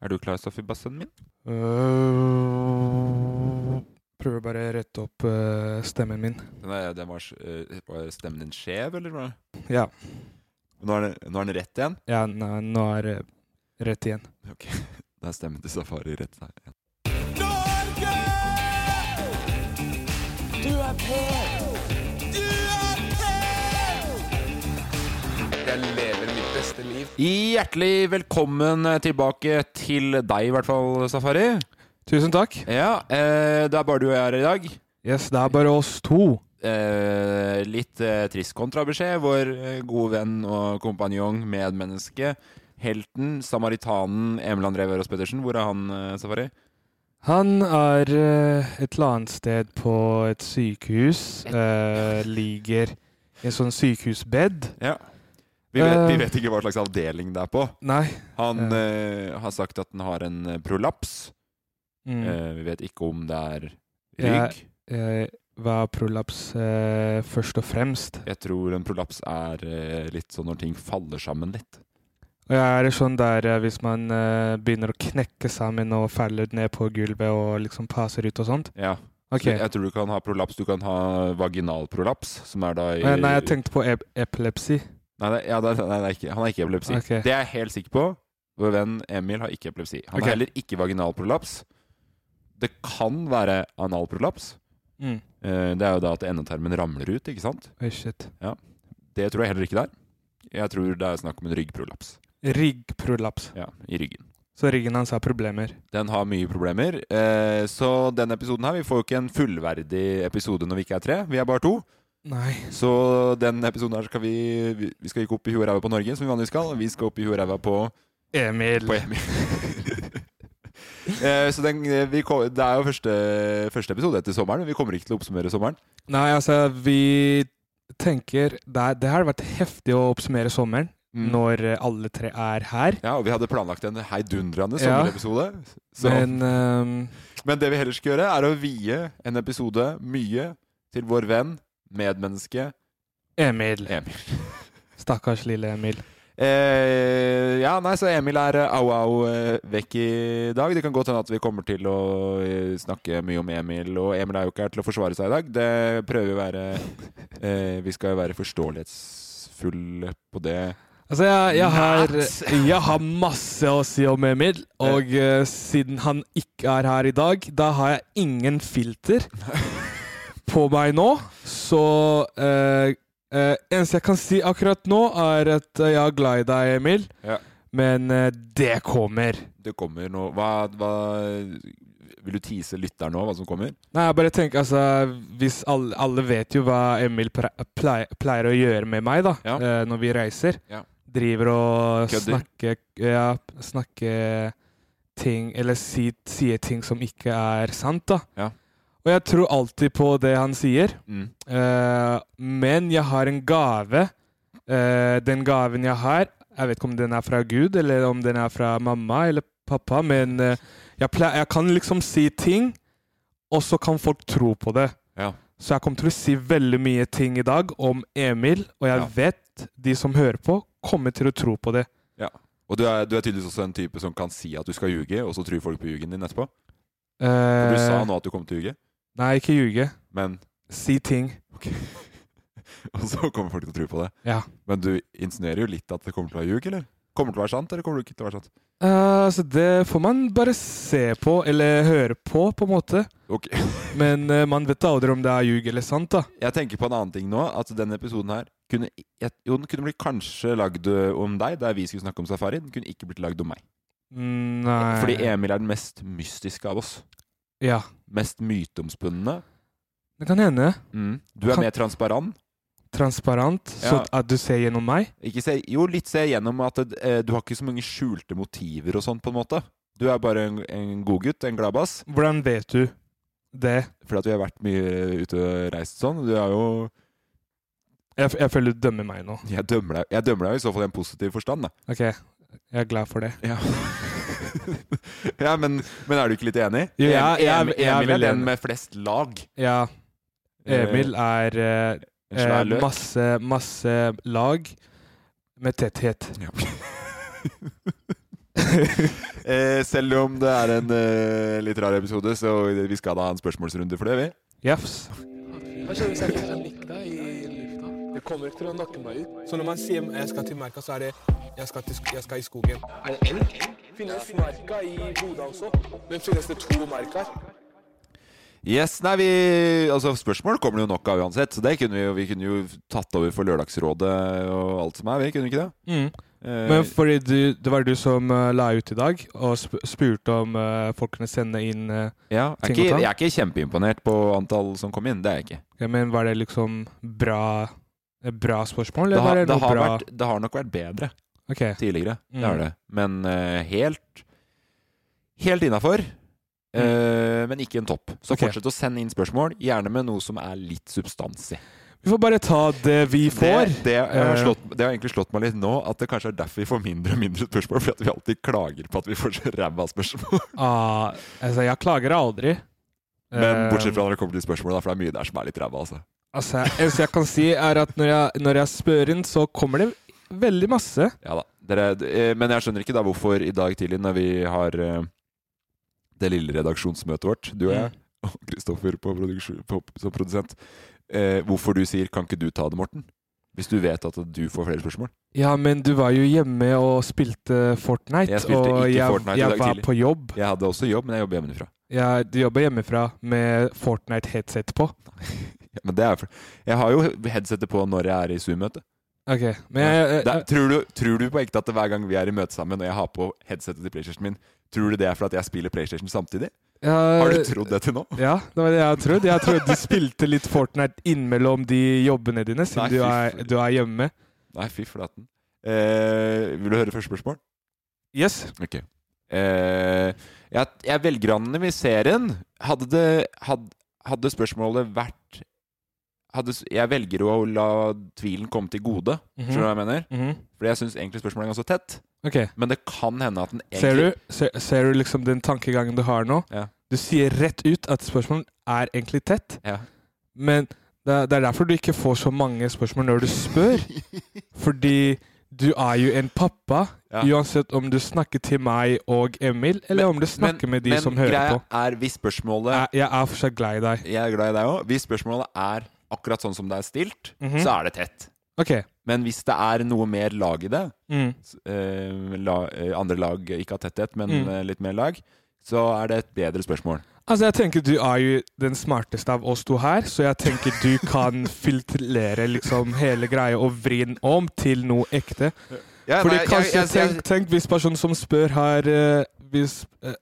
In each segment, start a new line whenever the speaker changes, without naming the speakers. Er du klar, Stoffi Bassen min?
Øh, prøver bare å rette opp eh, stemmen min.
Den, er, den var, s- eh, var stemmen din skjev, eller? hva?
Ja,
Nå er, den, nå er den rett igjen?
ja nå, nå er det rett igjen.
Ok, da er stemmen til Safari rett her igjen. Hjertelig velkommen tilbake til deg, i hvert fall, Safari.
Tusen takk.
Ja, eh, det er bare du og jeg her i dag.
Yes, det er bare oss to.
Eh, litt eh, trist kontrabeskjed. Vår eh, gode venn og kompanjong, medmenneske, helten, samaritanen Emil André Wørås Pettersen. Hvor er han, eh, Safari?
Han er eh, et eller annet sted på et sykehus. eh, ligger i en sånn sykehusbed.
Ja. Vi vet,
Eh.
vi vet ikke hva slags avdeling det er på.
Nei.
Han
Ja.
eh, har sagt at han har en eh, prolaps.
Mm.
Eh, vi vet ikke om det er
Ja.
rygg.
Eh, hva er prolaps eh, først og fremst?
Jeg tror en prolaps er eh, litt sånn når ting faller sammen litt.
Og jeg er sånn der eh, hvis man eh, begynner å knekke sammen og faller ned på gulvet og liksom paser ut og sånt.
Ja.
Ok.
Så Jeg tror du kan ha prolaps. Du kan ha vaginal prolaps, som er da i
Eh, Nei, jeg tenkte på ep epilepsi.
Nei, det, ja, det, nei, det er ikke, han har ikke epilepsi.
Ok.
Det er jeg helt sikker på. Vår venn Emil har ikke epilepsi. Han
Ok.
har heller ikke vaginal prolaps. Det kan være anal prolaps.
Mm.
Eh, Det er jo da at endetarmen ramler ut, ikke sant?
Oi, shit.
Det tror jeg heller ikke det er. Jeg tror det er snakk om en ryggprolaps.
Ryggprolaps.
Ja, i ryggen.
Så ryggen hans har problemer.
Den har mye problemer. Eh, Så den episoden her Vi får jo ikke en fullverdig episode når vi ikke er tre. Vi er bare to.
Nei.
Så den episoden her skal vi Vi vi skal ikke opp i huet og ræva på Norge, som vi vanligvis skal. Vi skal opp i huet og ræva på
Emil.
på Emil. Eh, så den, eh, vi, ko- det er jo første, første episode etter sommeren, men vi kommer ikke til å oppsummere sommeren.
Nei, altså, vi tenker Det, er- det har vært heftig å oppsummere sommeren
Mm.
når eh, alle tre er her.
Ja, og vi hadde planlagt en heidundrende
Ja.
sommerepisode. Så, men,
Men ehm,
det vi heller skal gjøre, er å vie en episode mye til vår venn, medmenneske
Emil.
Emil.
Stakkars lille Emil.
Eh, ja, nei, så Emil er eh, au au eh, vekk i dag. Det kan godt hende at vi kommer til å eh, snakke mye om Emil, og Emil er jo ikke her til å forsvare seg i dag. Det prøver vi å være eh, Vi skal jo være forståelighetsfulle på det.
Altså, jeg, jeg, har,
Nuts!
jeg har masse å si om Emil, og eh, siden han ikke er her i dag, da har jeg ingen filter på meg nå. Så eh, eh, eneste jeg kan si akkurat nå, er at eh, jeg er glad i deg, Emil.
Ja.
Men eh, det kommer.
Det kommer noe hva, hva Vil du tease lytteren nå, hva som kommer?
Nei, jeg bare tenker, altså, hvis alle, alle vet jo hva Emil pre- pleier, pleier å gjøre med meg da,
Ja.
eh, når vi reiser.
Ja.
Driver og
Kødder.
snakker ja, snakke ting, eller si, sier ting som ikke er sant da.
Ja.
Og jeg tror alltid på det han sier,
Mm.
eh, men jeg har en gave. Eh, den gaven jeg har Jeg vet ikke om den er fra Gud, eller om den er fra mamma eller pappa, men eh, jeg, pleier, jeg kan liksom si ting, og så kan folk tro på det.
Ja.
Så jeg kommer til å si veldig mye ting i dag om Emil, og jeg
Ja.
vet de som hører på, kommer til å tro på det.
Og du er, du er tydeligvis også en type som kan si at du skal ljuge, og så tror folk på ljugen din etterpå. For du sa nå at du kom til å ljuge,
Eh, Nei, ikke ljuge.
men
Si ting.
Og så kommer folk til å tro på det.
Ja.
Men du insinuerer jo litt at det kommer til å være ljug, eller? Kommer det til å være sant, eller kommer det ikke til å være sant?
Eh, så det får man bare se på, eller høre på, på en måte.
Ok,
Men eh, man vet aldri om det er ljug eller sant, da.
Jeg tenker på en annen ting nå, at denne episoden her kunne, jeg, jo, den kunne bli kanskje lagd ø, om deg, der vi skulle snakke om safari. Den kunne ikke blitt lagd om meg.
Mm, Nei
Fordi Emil er den mest mystiske av oss.
Ja.
Mest myteomspunne.
Det kan hende.
Mm. Du er
Kan-
mer transparent.
Transparent, så
Ja.
at du ser gjennom meg.
Ikke se, jo, litt se gjennom at ø, du har ikke så mange skjulte motiver og sånn, på en måte. Du er bare en, en god gutt, en gladbass.
Hvordan vet du det?
Fordi at vi har vært mye ute og reist og sånn. Du er jo
Jeg, f- jeg føler du dømmer meg nå.
Jeg dømmer deg, jeg dømmer deg jo i så fall i en positiv forstand, da.
OK, jeg er glad for det.
Ja, men, men er du ikke litt enig?
Jo, jeg- jeg-
Emil,
jeg er
Emil er
veldig
den
enig.
med flest lag.
Ja, Emil
Eh,
er eh,
En svær
eh,
løk.
masse, masse lag med tetthet.
Ja. Eh, Selv om det er en eh, litt rar episode, så vi skal da ha en spørsmålsrunde for det, vi.
Jafs.
Hva skjer hvis jeg ikke får lykta i lufta? Det kommer ikke til å nakke meg ut. Så når man sier jeg skal til merka, så er det jeg skal, til, sk- jeg skal i skogen. Er det elg? Finnes merka i Bodø også? Men finnes det to merker?
Yes, nei, vi, altså Spørsmål kommer det jo nok av uansett. Så det kunne vi, jo- vi kunne jo tatt over for Lørdagsrådet og alt som er. Vi kunne ikke det?
Mm.
Eh,
Men fordi du, det var du som eh, la ut i dag, og sp spurte om eh, folk kunne sende inn eh,
ja, jeg, er
ting å
ikke,
ta.
jeg er ikke kjempeimponert på antall som kom inn. Det er jeg ikke.
ja, Men var det liksom bra, eh, bra spørsmål,
Det
eller
har,
var det
det
noe
har,
bra
vært, det har nok vært bedre
Ok,
tidligere. Det
Mm.
har det. Men eh, helt Helt innafor. Eh, men ikke en topp. Så
Mm. Ok.
fortsett å sende inn spørsmål, gjerne med noe som er litt substans i.
Vi får bare ta det vi får.
Det, det, har
Eh.
slått, det har egentlig slått meg litt nå, at det kanskje er derfor vi får mindre og mindre spørsmål. Fordi at vi alltid klager på at vi får så ræva spørsmål.
Ah, altså, jeg klager aldri.
Men
Eh,
bortsett fra når det kommer til spørsmål, da, for det er mye der som er litt ræva. Altså.
Altså, det eneste jeg kan si, er at når jeg, når jeg spør inn, så kommer det veldig masse.
Ja da. Dere, d- eh, men jeg skjønner ikke da hvorfor i dag tidlig, når vi har eh, det lille redaksjonsmøtet vårt, du og jeg,
Mm.
og Kristoffer på produksjon- på, som produsent, eh, hvorfor du sier 'kan ikke du ta det, Morten'? Hvis du vet at du får flere spørsmål.
Ja, men du var jo hjemme og spilte Fortnite.
Jeg spilte
og
ikke
jeg,
Fortnite i dag
jeg var
tidlig.
på jobb.
Jeg hadde også jobb, men jeg jobber hjemmefra.
Jeg jobber hjemmefra med Fortnite-headset på.
Ja, men det er for, jeg har jo headsetet på når jeg er i Zoom-møte.
Ok, men jeg, jeg,
Det- Tror, du- tror du på ekte at hver gang vi er i møte sammen og jeg har på headsetet til PlayStation min, tror du det er fordi at jeg spiller PlayStation samtidig?
jeg-
Har du trodd det til nå?
Ja, det var det jeg trodde. Jeg trodde du spilte litt Fortnite innimellom de jobbene dine,
Nei,
siden du
fy
er,
faen.
du er hjemme.
Nei, fy flaten. Eh, vil du høre første spørsmål?
Yes.
Ok. Eh, jeg, jeg velger å anonymisere den. Hadde, det, hadde, hadde spørsmålet vært hadde, s- Jeg velger å la tvilen komme til gode.
Mhm.
Skjønner du hva jeg mener?
Mhm.
Fordi jeg syns egentlig spørsmålet er ganske tett.
Ok.
Men det kan hende at den
Ser du,
egentlig
ser, ser du liksom den tankegangen du har nå?
Ja.
Du sier rett ut at spørsmålet er egentlig tett,
Ja.
men det er, det er derfor du ikke får så mange spørsmål når du spør. Fordi du er jo en pappa,
Ja.
uansett om du snakker til meg og Emil, eller om du snakker med de
men
som hører
greia
på.
er hvis spørsmålet
Jeg, jeg er fortsatt glad i deg.
Jeg er glad i deg òg. Hvis spørsmålet er akkurat sånn som det er stilt,
Mhm.
så er det tett.
Ok.
Men hvis det er noe mer lag i det,
Mm.
s- eh, la, eh, andre lag ikke av tetthet, men
Mm.
eh, litt mer lag, så er det et bedre spørsmål.
Altså, jeg tenker du er jo den smarteste av oss to her, så jeg tenker du kan filtrere liksom hele greia og vri den om til noe ekte. Fordi kanskje, tenk, tenk hvis personen som spør her eh, hvis, eh,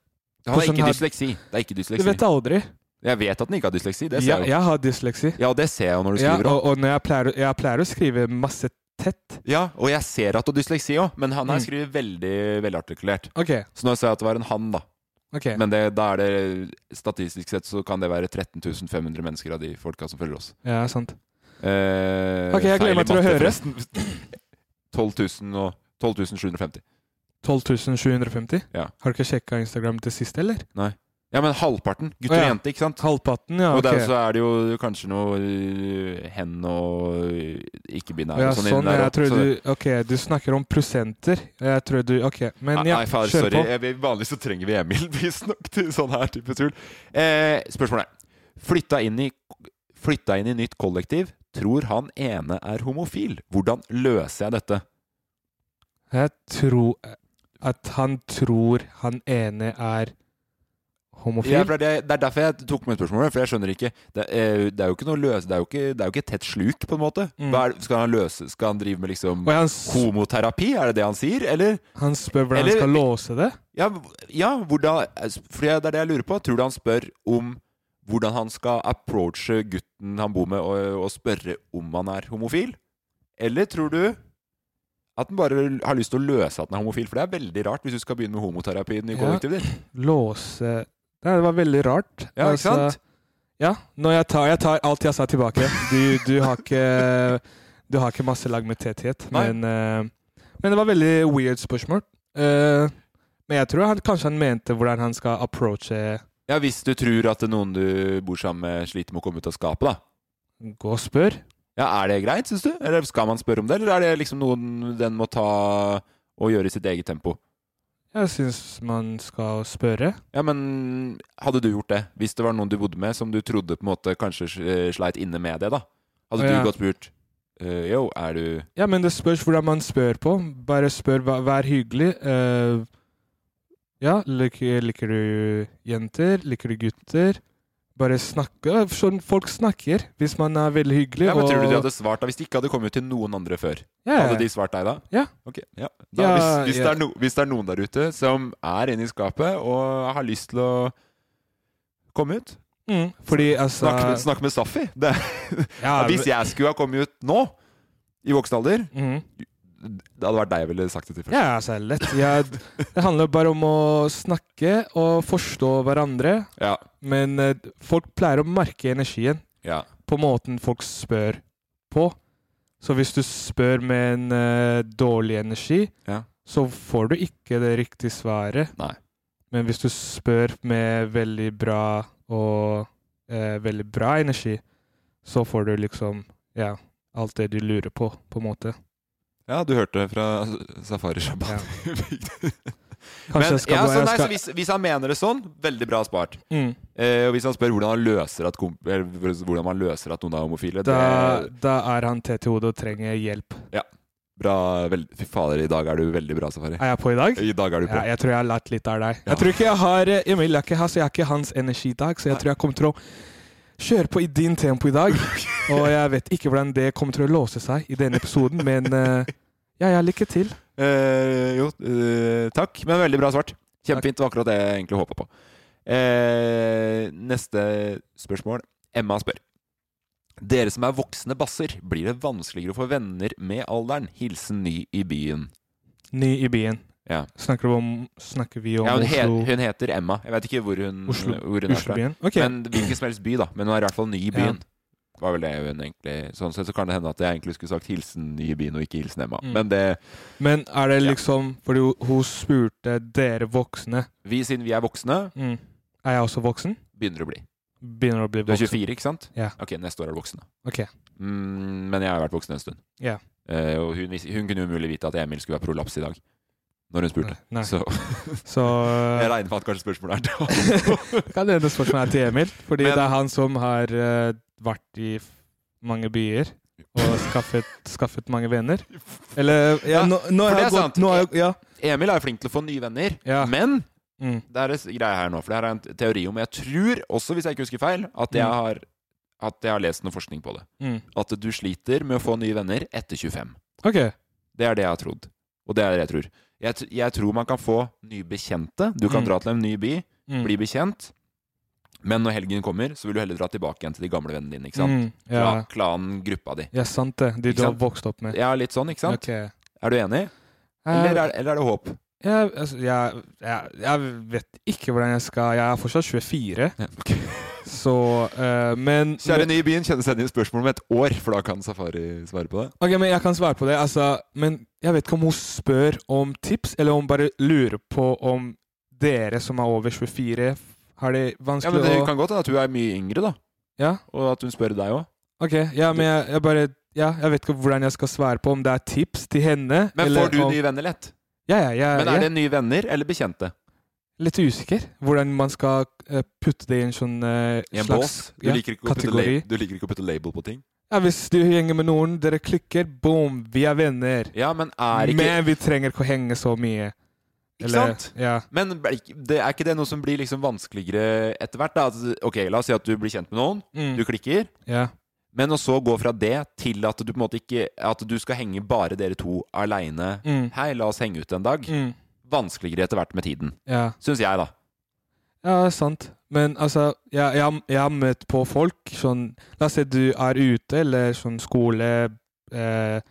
Han har
Hvordan
ikke
har-
dysleksi. Det er ikke
Du
dysleksi.
vet aldri.
Jeg vet at han ikke har dysleksi. Det ser
Jeg,
jeg jo.
jeg har dysleksi.
Ja, og det ser jeg jo når du
Ja,
skriver òg.
og, og når jeg, pleier, å- jeg pleier å skrive masse tett.
Ja, og jeg ser at du har dysleksi òg, men han her
Mm.
skriver veldig velartikulert.
OK.
Så nå ser jeg at det var en han, da.
ok.
Men det, da er det statistisk sett så kan det være 13 500 mennesker av de folka som følger oss.
Ja, sant.
Eh,
Ok, jeg gleder
feil i
meg til å
matte,
høre.
forresten. 12 000 og 12.750
12.750?
Ja.
Har du ikke sjekka Instagram til sist, eller?
Ja, men halvparten. Gutter
Å,
og
ja.
jenter, ikke sant?
Halvparten, ja.
Og der
ok.
så er det jo kanskje noe øh, hen og øh, ikke-binære
ja,
og sånn,
sånn,
inni der
jeg
også,
tror
så det-
du Ok, du snakker om prosenter. Jeg tror du Ok, men ja,
Nei, far,
kjør
sorry.
på.
Jeg, vet- vanligvis så trenger vi Emil, visstnok, til sånn her type tull. Eh, spørsmålet er flytta inn, i, flytta inn i nytt kollektiv. Tror han ene er homofil. Hvordan løser jeg dette?
Jeg tror at han tror han ene er homofil.
Ja, for det, er- det er derfor jeg tok med spørsmålet, for jeg skjønner ikke Det, eh, det er jo ikke noe løse, det er jo ikke, det er jo ikke et tett sluk, på en måte.
Mm.
Hva er, det- skal han løse Skal han drive med liksom
Og han, s-
homoterapi? Er det det han sier, eller?
han spør hvordan han
Eller-
skal låse det.
Ja, ja hvordan For det er det jeg lurer på. Tror du han spør om hvordan han skal approache gutten han bor med, og, og spørre om han er homofil? Eller tror du at han bare har lyst til å løse at han er homofil? For det er veldig rart hvis du skal begynne med homoterapien i
Ja.
kollektivet ditt.
Låse Nei, det var veldig rart.
Ja, ikke
Altså,
sant?
Ja. Når jeg tar, jeg tar alt jeg sa tilbake. Du, du har ikke Du har ikke masse lag med tetthet,
Nei.
men eh, Men det var veldig weird spørsmål. Eh, men jeg tror han, kanskje han mente hvordan han skal approache
Ja, hvis du tror at noen du bor sammen med, sliter med å komme ut av skapet, da.
Gå og spør.
Ja, Er det greit, syns du? Eller skal man spørre om det? Eller er det liksom noe den må ta og gjøre i sitt eget tempo?
Jeg syns man skal spørre.
Ja, men hadde du gjort det? Hvis det var noen du bodde med som du trodde på en måte kanskje eh, sleit inne med det, da?
Å,
Hadde
ja.
du gått spurt eh, Yo, er du
Ja, men det spørs hvordan man spør på. Bare spør, vær, vær hyggelig. Eh, ja, liker, liker du jenter? Liker du gutter? Bare snakke. Sånn folk snakker, hvis man er veldig hyggelig.
ja, men
og-
Tror du de hadde svart da hvis de ikke hadde kommet til noen andre før?
Ja, ja.
Hadde de svart deg da?
Ja.
Ok, ja. Da,
Ja,
hvis, hvis,
ja.
Det er no, hvis det er noen der ute som er inne i skapet og har lyst til å komme ut
mm, Fordi altså
Snakk, med- snakk med Safi! Det,
ja,
hvis jeg skulle ha kommet ut nå, i voksen alder,
mm,
det hadde vært deg jeg ville sagt det til først.
ja, altså, lett. Jeg, det handler bare om å snakke og forstå hverandre.
Ja.
Men eh, folk pleier å merke energien.
Ja.
på måten folk spør på. Så hvis du spør med en eh, dårlig energi,
Ja.
så får du ikke det riktige svaret.
Nei.
Men hvis du spør med veldig bra og eh, veldig bra energi, så får du liksom ja, alt det du lurer på, på en måte.
ja, du hørte det fra Safari Shabbat.
Kanskje
Men,
jeg skal
ja,
bare
så,
jeg
nei, så
skal,
hvis, hvis han mener det sånn, veldig bra spart.
mm,
Eh, og hvis han spør hvordan, han løser at komp eller hvordan man løser at noen er homofile
da,
det
da er han tett i hodet og trenger hjelp.
bra, vel, Fy fader, i dag er du veldig bra, Safari.
Er jeg på i dag?
I dag er du på.
Ja, jeg tror jeg har lært litt av deg.
Ja.
Jeg tror ikke jeg har eh, Emil, jeg er ikke, altså, jeg er ikke hans energi i dag, så jeg
Nei.
tror jeg kommer til å kjøre på i din tempo i dag. Og jeg vet ikke hvordan det kommer til å låse seg i denne episoden, men eh, ja, ja, lykke til.
Eh, jo, eh, takk, men veldig bra svart. Kjempefint. Det var akkurat det jeg egentlig håpa på. Eh, neste spørsmål. Emma spør. Dere som er voksne basser, blir det vanskeligere å få venner med alderen? Hilsen ny i byen.
Ny i byen.
Ja.
Snakker, vi om, snakker vi om
Ja, hun, he
Oslo,
hun heter Emma. Jeg vet ikke hvor hun,
Oslo-
hvor hun er fra.
Oslobyen? Ok.
Men hvilken som helst by, da. Men hun er i hvert fall ny i
Ja.
byen. Var vel det hun egentlig Sånn sett så kan det hende at jeg egentlig skulle sagt 'hilsen ny i byen' og ikke 'hilsen Emma'.
Mm.
Men det
Men er det
Ja.
liksom Fordi hun- hun spurte dere voksne.
Vi, siden vi er voksne,
Mm. Er jeg også voksen?
begynner å bli.
Begynner å bli
Du er
voksen.
24, ikke sant?
Ja.
Ok, neste år er du voksen. da.
Ok.
Mm, men jeg har vært voksen en stund.
Ja.
Eh, og hun, vis- hun kunne umulig vite at Emil skulle være prolaps i dag. Når hun spurte.
Nei.
Så
Så
jeg regner med at kanskje spørsmålet er da.
kan hende spørsmålet er til Emil, fordi
Men-
det er han som har eh, vært i f- mange byer og skaffet, skaffet mange venner. Eller ja,
Ja,
nå, nå
for
har
det
jeg
er sant.
gått nå har jeg, Ja.
Emil er jo flink til å få nye venner,
Ja.
men
Mm.
det er en s- greie her nå, for det her er en t- teori om Jeg tror, også hvis jeg ikke husker feil, at jeg
Mm.
har, at jeg har lest noe forskning på det.
Mm.
At du sliter med å få nye venner etter 25.
OK.
Det er det jeg har trodd. Og det er det jeg tror. Jeg, tr- jeg tror man kan få nye bekjente. Du kan
Mm.
dra til en ny by,
Mm.
bli bekjent. Men når helgen kommer, så vil du heller dra tilbake igjen til de gamle vennene dine. ikke sant?
Mm, ja.
Kla- Klanen, gruppa di.
ja, sant det. De du
Ikke
har
sant?
vokst opp med.
Ja, litt sånn, ikke sant?
Ok. Eh,
Er du enig? Eller er, eller er det håp?
jeg, altså, jeg, jeg, jeg vet ikke hvordan jeg skal Jeg er fortsatt 24, Så eh, Men
Kjære ny i byen, kjennesend inn spørsmål om et år, for da kan Safari svare på det.
Ok, men Jeg kan svare på det. altså, Men jeg vet ikke om hun spør om tips, eller om hun bare lurer på om dere som er over 24, har det
Ja,
vanskelig
men Det
å
kan godt hende at hun er mye yngre, da.
Ja?
Og at hun spør deg òg.
Ok, ja, men jeg, jeg bare ja, Jeg vet ikke hvordan jeg skal svare på om det er tips til henne.
Men
eller
får du
om,
nye venner lett?
Ja, ja, jeg,
Men er
jeg
det nye venner eller bekjente?
Litt usikker hvordan man skal eh, putte det i en sånn eh,
I en
slags
bås? Du
ja,
liker, ikke å putte
kategori.
la- du liker ikke å putte label på ting?
Ja, Hvis du henger med noen, dere klikker, boom, vi er venner.
Ja, men er ikke
Men vi trenger ikke å henge så mye.
Ikke sant?
Ja.
Men ble ikke- det, er ikke det noe som blir liksom vanskeligere etter hvert? da? Altså, Ok, La oss si at du blir kjent med noen,
Mm.
du klikker.
ja.
Men å så gå fra det til at du på en måte ikke At du skal henge bare dere to aleine.
Mm.
Hei, la oss henge ut en dag.
Mm.
Vanskeligere etter hvert med tiden.
Ja.
Syns jeg, da.
ja, det er sant. Men altså, jeg, jeg, jeg har møtt på folk sånn La oss si du er ute, eller sånn skole eh,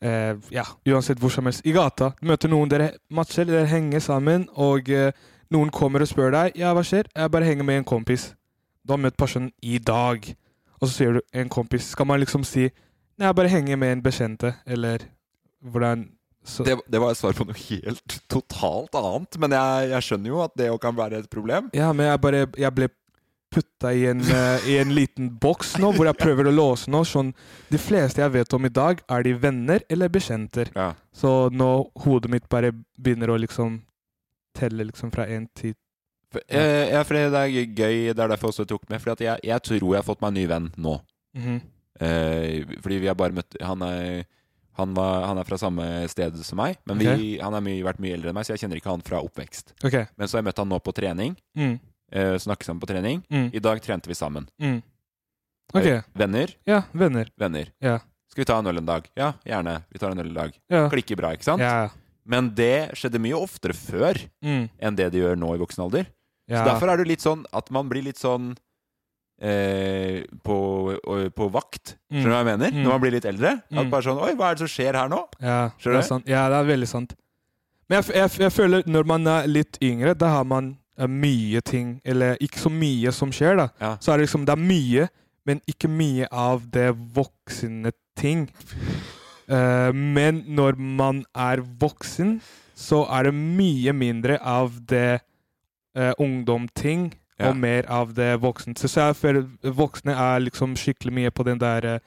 eh, Ja, uansett hvor som helst. I gata. Du møter noen dere matcher, dere henger sammen, og eh, noen kommer og spør deg Ja, hva skjer? Jeg bare henger med en kompis. Du har møtt personen i dag, og så sier du en kompis. Skal man liksom si Nei, jeg bare henger med en bekjente, eller hvordan så,
Det, det var et svar på noe helt totalt annet. Men jeg, jeg skjønner jo at det jo kan være et problem.
Ja, men jeg bare Jeg ble putta i en, eh, i en liten boks nå, hvor jeg prøver å låse noe. Sånn, de fleste jeg vet om i dag, er de venner eller bekjenter.
Ja.
Så nå hodet mitt bare begynner å liksom telle liksom fra én til
For, eh, ja, for det er gøy. Det er derfor også jeg tok med. For at jeg, jeg tror jeg har fått meg en ny venn nå.
Mhm.
Eh, fordi vi har bare møtt Han er, han var, han er fra samme sted som meg, men vi, han har mye, vært mye eldre enn meg, så jeg kjenner ikke han fra oppvekst.
OK.
Men så har jeg møtt han nå på trening.
Mm.
Eh, snakket sammen på trening.
Mm.
I dag trente vi sammen. Eh,
Mm. OK.
Venner,
Ja, venner.
venner.
Ja.
Skal vi ta en øl en dag? Ja, gjerne. Vi tar en øl en dag.
Ja.
Klikker bra, ikke sant?
Ja.
Men det skjedde mye oftere før
Mm.
enn det det gjør nå i voksen alder.
ja.
Så derfor er det litt sånn at man blir litt sånn eh, på, og- på vakt,
Mm.
skjønner du hva jeg mener?
Mm.
Når man blir litt eldre. At
Mm.
bare sånn Oi, hva er det som skjer her nå?
Ja,
Skjønner
det er
du?
sant. Ja, det er veldig sant. Men jeg, f- jeg, f- jeg føler når man er litt yngre, da har man eh, mye ting Eller ikke så mye som skjer, da.
Ja.
Så er det liksom Det er mye, men ikke mye av det voksne ting. Eh, men når man er voksen, så er det mye mindre av det eh, ungdomting
Ja.
og mer av det voksne. Så, så jeg føler voksne er liksom skikkelig mye på den der eh,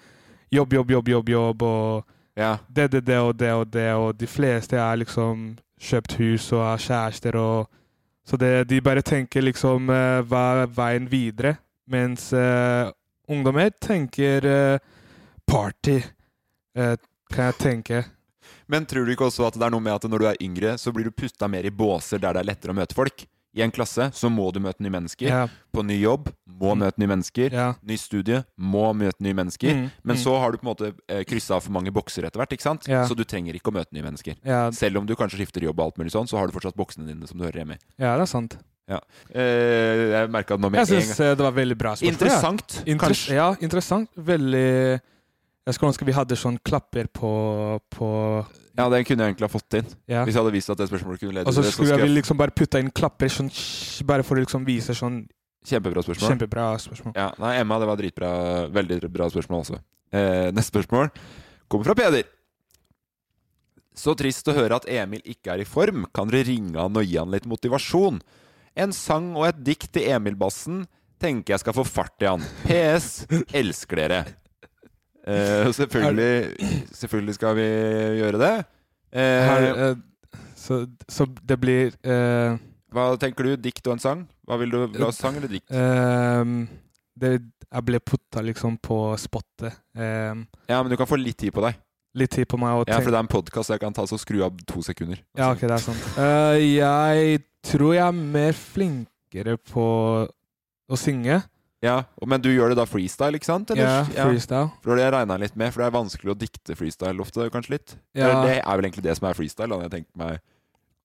jobb, jobb, jobb, jobb, jobb og
Ja.
det, det, det og det og det, og de fleste er liksom kjøpt hus og har kjærester og Så det, de bare tenker liksom eh, hva er veien videre? Mens eh, ungdommer tenker eh, party, eh, kan jeg tenke.
Men tror du ikke også at det er noe med at når du er yngre, så blir du putta mer i båser der det er lettere å møte folk? I en klasse så må du møte nye mennesker.
Ja,
På ny jobb må
Mm.
møte nye mennesker.
ja.
Ny studie må møte nye mennesker.
Mm,
Men
mm.
så har du på en måte eh, kryssa av for mange bokser etter hvert, ikke sant?
Ja.
Så du trenger ikke å møte nye mennesker.
Ja,
Selv om du kanskje skifter jobb og alt mulig sånn, så har du fortsatt boksene dine som du hører hjemme i.
ja, det er sant.
Eh, jeg merka det nå med
Jeg
en
syns
gang.
det var veldig bra spørsmål. ja.
Interessant,
Interes
kanskje.
ja, interessant. Veldig Jeg skulle ønske vi hadde sånn klapper på, på
Ja, det kunne jeg egentlig ha fått inn.
ja.
Hvis jeg hadde visst at det spørsmålet kunne lede
Og så
til det, så
skulle jeg
skulle jeg
liksom bare putta inn klapper, sånn, shh, bare for å liksom vise sånn
Kjempebra spørsmål.
Kjempebra spørsmål.
Ja, nei, Emma, det var dritbra. Veldig bra spørsmål også. Eh, neste spørsmål kommer fra Peder. Så trist å høre at Emil ikke er i form. Kan dere ringe han og gi han litt motivasjon? En sang og et dikt til Emil-bassen tenker jeg skal få fart i han. PS. Elsker dere. Eh, selvfølgelig, selvfølgelig skal vi gjøre det.
Her,
Eh,
eh, så, så det blir eh,
hva tenker du? Dikt og en sang? Hva vil du ha? Sang eller dikt?
ehm, det, Jeg ble putta liksom på spottet. Ehm,
Ja, men du kan få litt tid på deg.
litt tid på meg å
Ja, for
tenke.
det er en podkast jeg kan ta så skru av to sekunder.
Ja, ok, det er sant. Eh, jeg tror jeg er mer flinkere på å synge.
Ja, og- Men du gjør det da freestyle, ikke sant? Eller?
Ja, freestyle.
For det har jeg regna litt med, for det er vanskelig å dikte freestyle ofte, kanskje litt.
Ja,
Eller Det er vel egentlig det som er freestyle, da, når jeg tenker meg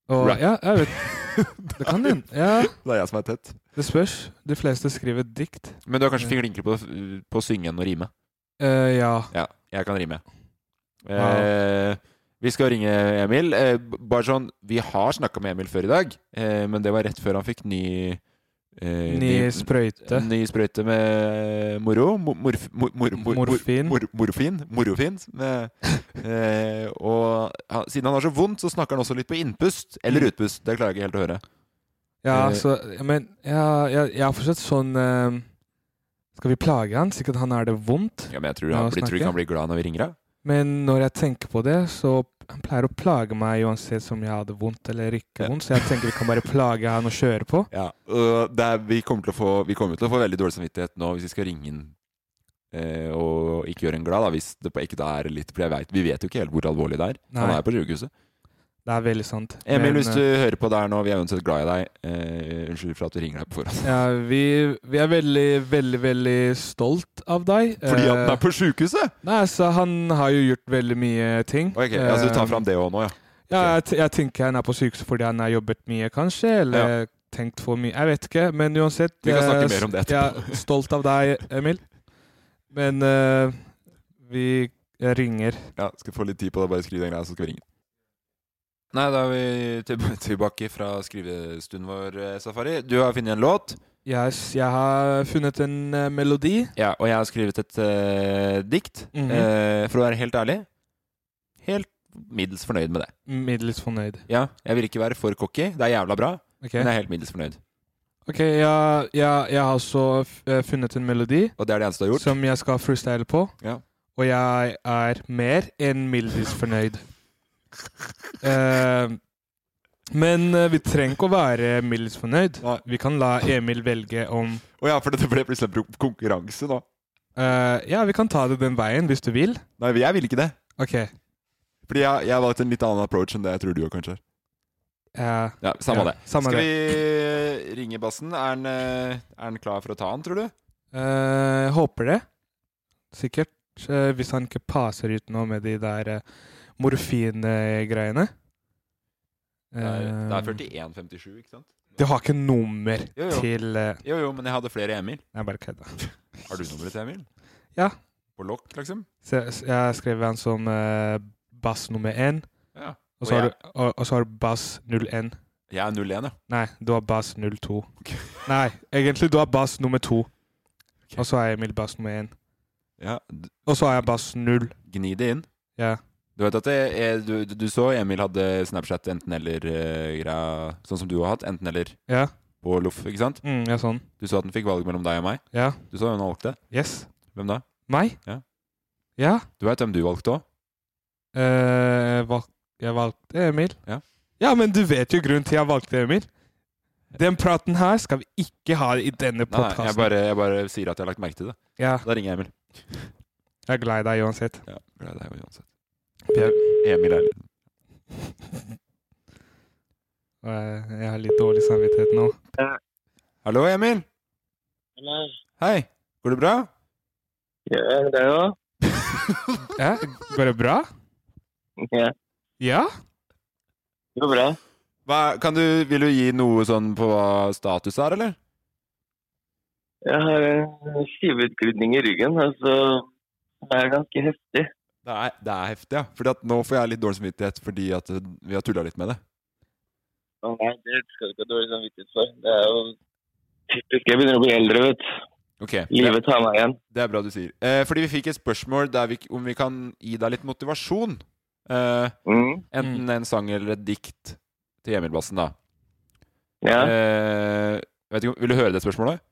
og,
rap.
ja jeg vet Det kan hende. Ja,
Det er jeg som er tett.
det spørs. De fleste skriver dikt.
Men du er kanskje flinkere på, på å synge enn å rime.
Eh, ja.
Ja, jeg kan rime.
Wow.
Eh, vi skal ringe Emil. Eh, b- bare sånn, vi har snakka med Emil før i dag, eh, men det var rett før han fikk ny eh,
Ny sprøyte.
Ny sprøyte med eh, moro. Mor, morf- mor, mor, mor,
Morfin.
Mor, morfin. Morofin. Med, eh, og han- siden han har så vondt, så snakker han også litt på innpust eller utpust. Det klarer jeg ikke helt å høre.
Ja,
Eh,
så, men ja, jeg, jeg har fortsatt sånn eh, Skal vi plage han? Sikkert han har det vondt.
Ja, men jeg tror,
Ja,
han, blir, tror du
snakke.
ikke han blir glad når vi ringer deg?
Men når jeg tenker på det, så han pleier å plage meg uansett om jeg hadde vondt eller ikke
Ja.
vondt, så jeg tenker vi kan bare plage han og kjøre på.
Ja, og det er, vi, kommer til å få, vi kommer til å få veldig dårlig samvittighet nå hvis vi skal ringe inn eh, og ikke gjøre en glad, da, hvis det på ekte er litt For jeg vet, vi vet jo ikke helt hvor alvorlig det er. Han
Nei.
er på sykehuset.
Det er veldig sant.
Emil,
Men,
hvis du hører på der nå, vi er uansett glad i deg. Eh, unnskyld for at vi ringer deg på forhånd.
eh, ja, vi, vi er veldig, veldig, veldig stolt av deg.
Fordi at
Eh,
den er på sjukehuset!
Nei, altså, han har jo gjort veldig mye ting.
Ok, ja, så du tar fram det òg nå, ja.
Ja, jeg, t- jeg tenker han er på sykehuset fordi han har jobbet mye, kanskje, eller tenkt for mye. Jeg vet ikke, men uansett
Vi
eh,
kan snakke mer om det etterpå.
Jeg er stolt av deg, Emil. Men eh, vi ringer.
Ja, skal få litt tid på det, bare skriv den greia, så skal vi ringe. Nei, da er vi til- tilbake fra skrivestunden vår, eh, Safari. Du har funnet en låt,
Yes, jeg har funnet en eh, melodi.
ja, og jeg har skrevet et eh, dikt.
Mhm.
Eh, for å være helt ærlig, helt middels fornøyd med det.
Middels fornøyd.
Ja, jeg vil ikke være for cocky, det er jævla bra,
Ok,
men jeg er helt middels fornøyd.
Ok, jeg, jeg, jeg har også f- eh, funnet en melodi
Og det er det eneste du har gjort.
som jeg skal freestyle på.
Ja.
Og jeg er mer enn middels fornøyd. Eh, men eh, vi trenger ikke å være middels fornøyd.
Nei.
Vi kan la Emil velge om
Å ja, for det ble plutselig en pro- konkurranse nå.
eh, Ja, vi kan ta det den veien hvis du vil.
Nei, jeg vil ikke det.
OK. eh,
Fordi jeg, jeg har valgt en litt annen approach enn det jeg tror du har, kanskje. Ja,
eh,
Samme
ja,
det.
Samme
Skal
det.
vi ringe bassen? Er han, eh, er han klar for å ta han, tror du?
Eh, håper det. Sikkert. eh, hvis han ikke passer ut nå med de der eh, morfingreiene.
Det
Eh,
er 41,57, ikke sant?
Du har ikke nummer
Jo, jo.
til eh,
Jo, jo, men jeg hadde flere Emil.
Jeg bare kødda.
Har du nummeret til Emil?
Ja.
På lokk, liksom?
Så jeg- så jeg skrev han som eh, bass nummer én,
Ja.
og
Og
så har
jeg,
du- og- og så har du bass 01.
jeg er 01, ja.
Nei, du har bass 02.
Ok.
Nei, egentlig du har bass nummer to, og så er Emil bass nummer én.
ja. d-
Og så er jeg bass null.
Gni det inn.
Ja.
Du vet at det er, du, du så Emil hadde Snapchat enten-eller-greia, sånn som du har hatt. Enten-eller
Ja,
på loff, ikke sant?
mm, ja sånn.
Du så at den fikk valg mellom deg og meg.
Ja.
Du så hvem han valgte.
Yes.
Hvem da?
Meg?
Ja.
Ja.
Du veit hvem du valgte òg?
eh, valg, jeg valgte Emil.
Ja.
ja, men du vet jo grunnen til jeg valgte Emil. Den praten her skal vi ikke ha i denne
Nei, nei, jeg
podkasten.
bare, jeg bare sier at jeg har lagt merke til det.
Ja,
Da ringer jeg Emil.
jeg er glad i deg uansett.
Ja, glad i deg uansett.
Vi er-
Emil er
Og jeg, jeg har litt dårlig samvittighet nå.
Hallo, Emil. Hei. Går det bra?
Ja, går det bra?
Ja,
Ja?
det går bra.
Hva, kan du, vil du gi noe sånn på hva status er, eller?
Jeg har en skiveutglidning i ryggen, altså. Det er ganske heftig.
Det er, det er heftig, ja. Fordi at nå får jeg litt dårlig samvittighet fordi at eh, vi har tulla litt med det.
Å nei, det skal du ikke ha dårlig samvittighet for. Det er jo typisk. Jeg begynner å bli eldre, vet du.
Ok, det,
Livet tar meg igjen.
det er bra du sier. Eh, fordi vi fikk et spørsmål der vi, om vi kan gi deg litt motivasjon. Eh,
Mm.
enten en sang eller et dikt til Emil Bassen, da.
Ja,
Eh, vet ikke om, vil du høre det spørsmålet?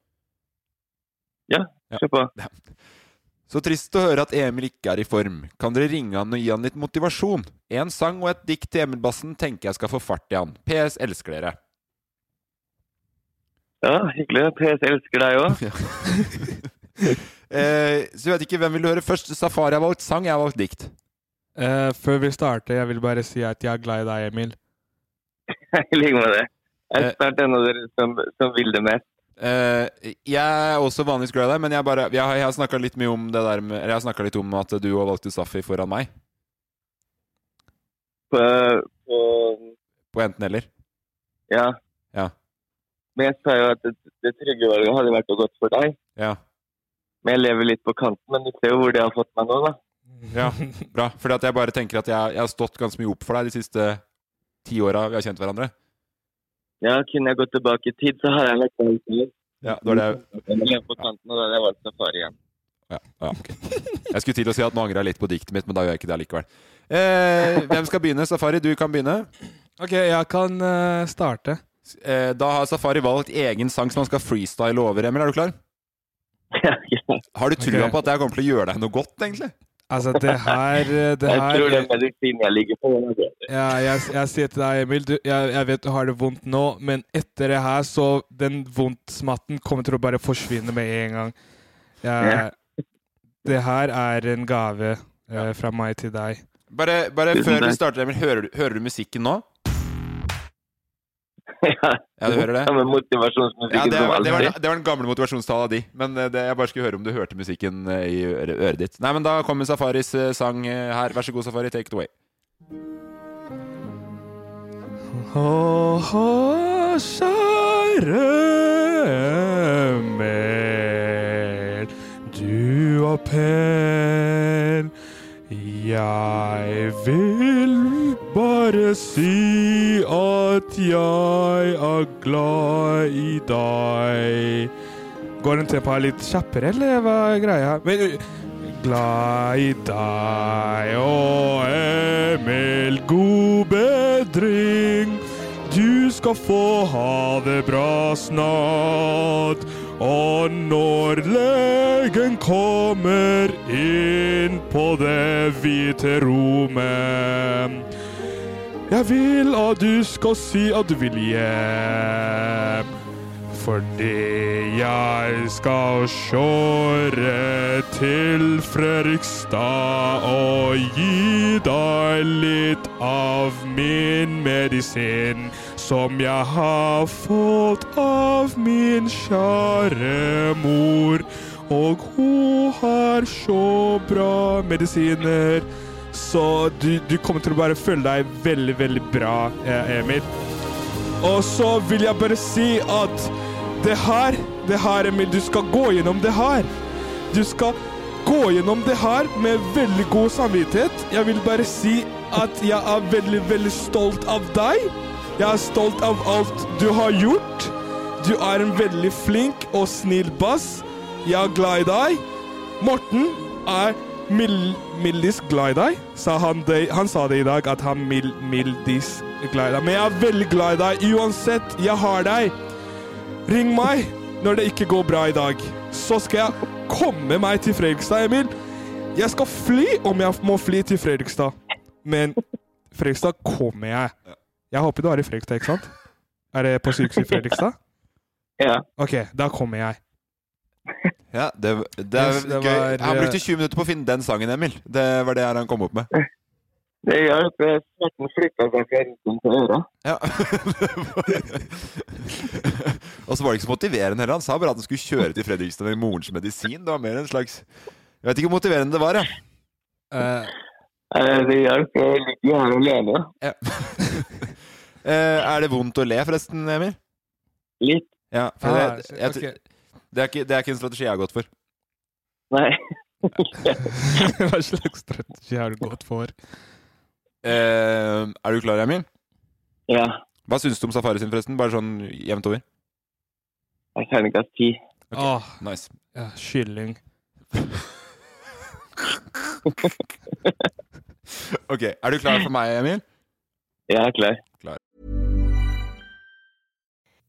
se på.
Så trist å høre at Emil ikke er i form. Kan dere ringe han og gi han litt motivasjon? En sang og et dikt til Emil Bassen tenker jeg skal få fart i han. PS elsker dere.
Ja, hyggelig. PS elsker deg òg.
Eh, så jeg vet ikke hvem vil du høre først. Safari har valgt sang, jeg har valgt dikt.
Eh, før vi starter, jeg vil bare si at jeg er glad i deg, Emil.
I like med det. Jeg
Eh.
er snart en av dere som, som vil det mest.
Eh, jeg er også vanligvis glad i deg, men jeg, bare, jeg, har- jeg har snakka litt mye om det der med Eller jeg har snakket litt om at du har valgt ut Safi foran meg.
På, på
På enten eller.
ja.
Ja.
Men jeg sa jo at det, det trygge valget hadde vært noe godt for deg.
Ja,
Men jeg lever litt på kanten, men du ser jo hvor det har fått meg nå, da.
ja bra. Fordi at jeg bare tenker at jeg, jeg har stått ganske mye opp for deg de siste ti åra vi har kjent hverandre.
Ja, kunne jeg gått tilbake i tid, så hadde jeg vært der før.
Ja, det var det jeg-
Jeg levde på kanten, og da hadde jeg valgt safari igjen.
ja, ja, ok. Jeg skulle til å si at nå angrer jeg litt på diktet mitt, men da gjør jeg ikke det likevel. Eh, hvem skal begynne? Safari, du kan begynne.
OK, jeg kan eh, starte.
Eh, da har Safari valgt egen sang som han skal freestyle over, Emil. Er du klar?
Ja, ja.
Har du trua
Ok.
på at det her kommer til å gjøre deg noe godt, egentlig?
Altså, det her eh, det
Jeg
her,
tror den medisinen jeg ligger på, den er bedre.
Ja, jeg, jeg sier til deg, Emil, du, jeg, jeg vet du har det vondt nå, men etter det her, så den vondtsmatten kommer til å bare forsvinne med en gang. Jeg, det her er en gave eh, fra meg til deg.
Bare, bare
Tusen
før vi
takk.
starter, Emil, hører du, hører du musikken nå?
Ja,
Ja, du hører det?
Samme motivasjonsmusikken
Ja, det,
som
var, det, var,
alltid.
det var den gamle motivasjonstala di, men eh, det, jeg bare skulle høre om du hørte musikken eh, i øre- øret ditt. Nei, men da kommer Safaris eh, sang eh, her. Vær så god, Safari, take it away.
Åh, kjære Emil, du er pen. Jeg vil bare si at jeg er glad i deg. Går den tempoet her litt kjappere, eller hva er greia her? Men, uh, glad i deg og Emil, god bedring. Du skal få ha det bra snart. Og når legen kommer inn på det hvite rommet Jeg vil at du skal si at du vil hjem. Fordi jeg skal kjøre til Fredrikstad og gi deg litt av min medisin som jeg har fått av min kjære mor. Og hun har så bra medisiner, så du, du kommer til å bare føle deg veldig, veldig bra, eh, Emil. Og så vil jeg bare si at det her, det her, Emil, du skal gå gjennom det her. Du skal gå gjennom det her med veldig god samvittighet. Jeg vil bare si at jeg er veldig, veldig stolt av deg. Jeg er stolt av alt du har gjort. Du er en veldig flink og snill bass. Jeg er glad i deg. Morten er mil, mildis glad i deg. Sa han, det, han sa det i dag, at han mil, mildis glad i deg. Men jeg er veldig glad i deg uansett. Jeg har deg. Ring meg når det ikke går bra i dag. Så skal jeg komme meg til Fredrikstad, Emil. Jeg skal fly om jeg må fly til Fredrikstad. Men Fredrikstad kommer jeg. Jeg håper du er i Fredrikstad, ikke sant? Er det på sykehuset i Fredrikstad?
Ja.
OK, da kommer jeg.
Ja, det, det, er
Yes, det
gøy.
var,
Han
eh,
brukte 20 minutter på å finne den sangen, Emil. Det var det her han kom opp med.
Det gjør at eh, smerten flytter seg fra ryggen til øret.
Ja. Og så var det ikke så motiverende heller. Han sa bare at han skulle kjøre til Fredrikstad med morens medisin. Det var mer en slags Jeg vet ikke hvor motiverende det var, ja.
Eh, Det gjør at jeg ligger her alene.
ja. Eh, er det vondt å le, forresten, Emil?
Litt.
Ja, for det, jeg, det, er ikke, det er ikke en strategi jeg har gått for.
Nei.
Hva slags strategi har du gått for?
Eh, er du klar, Emil?
Ja.
Hva syns du om Safari sin, forresten? Bare sånn jevnt over.
Jeg kan ikke ha tid.
Ok.
Åh,
Nice.
ja, kylling.
Ok, Er du klar for meg, Emil?
Jeg er klar.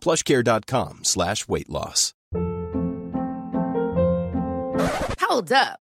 plushcare.com slash weight loss.
Hold up.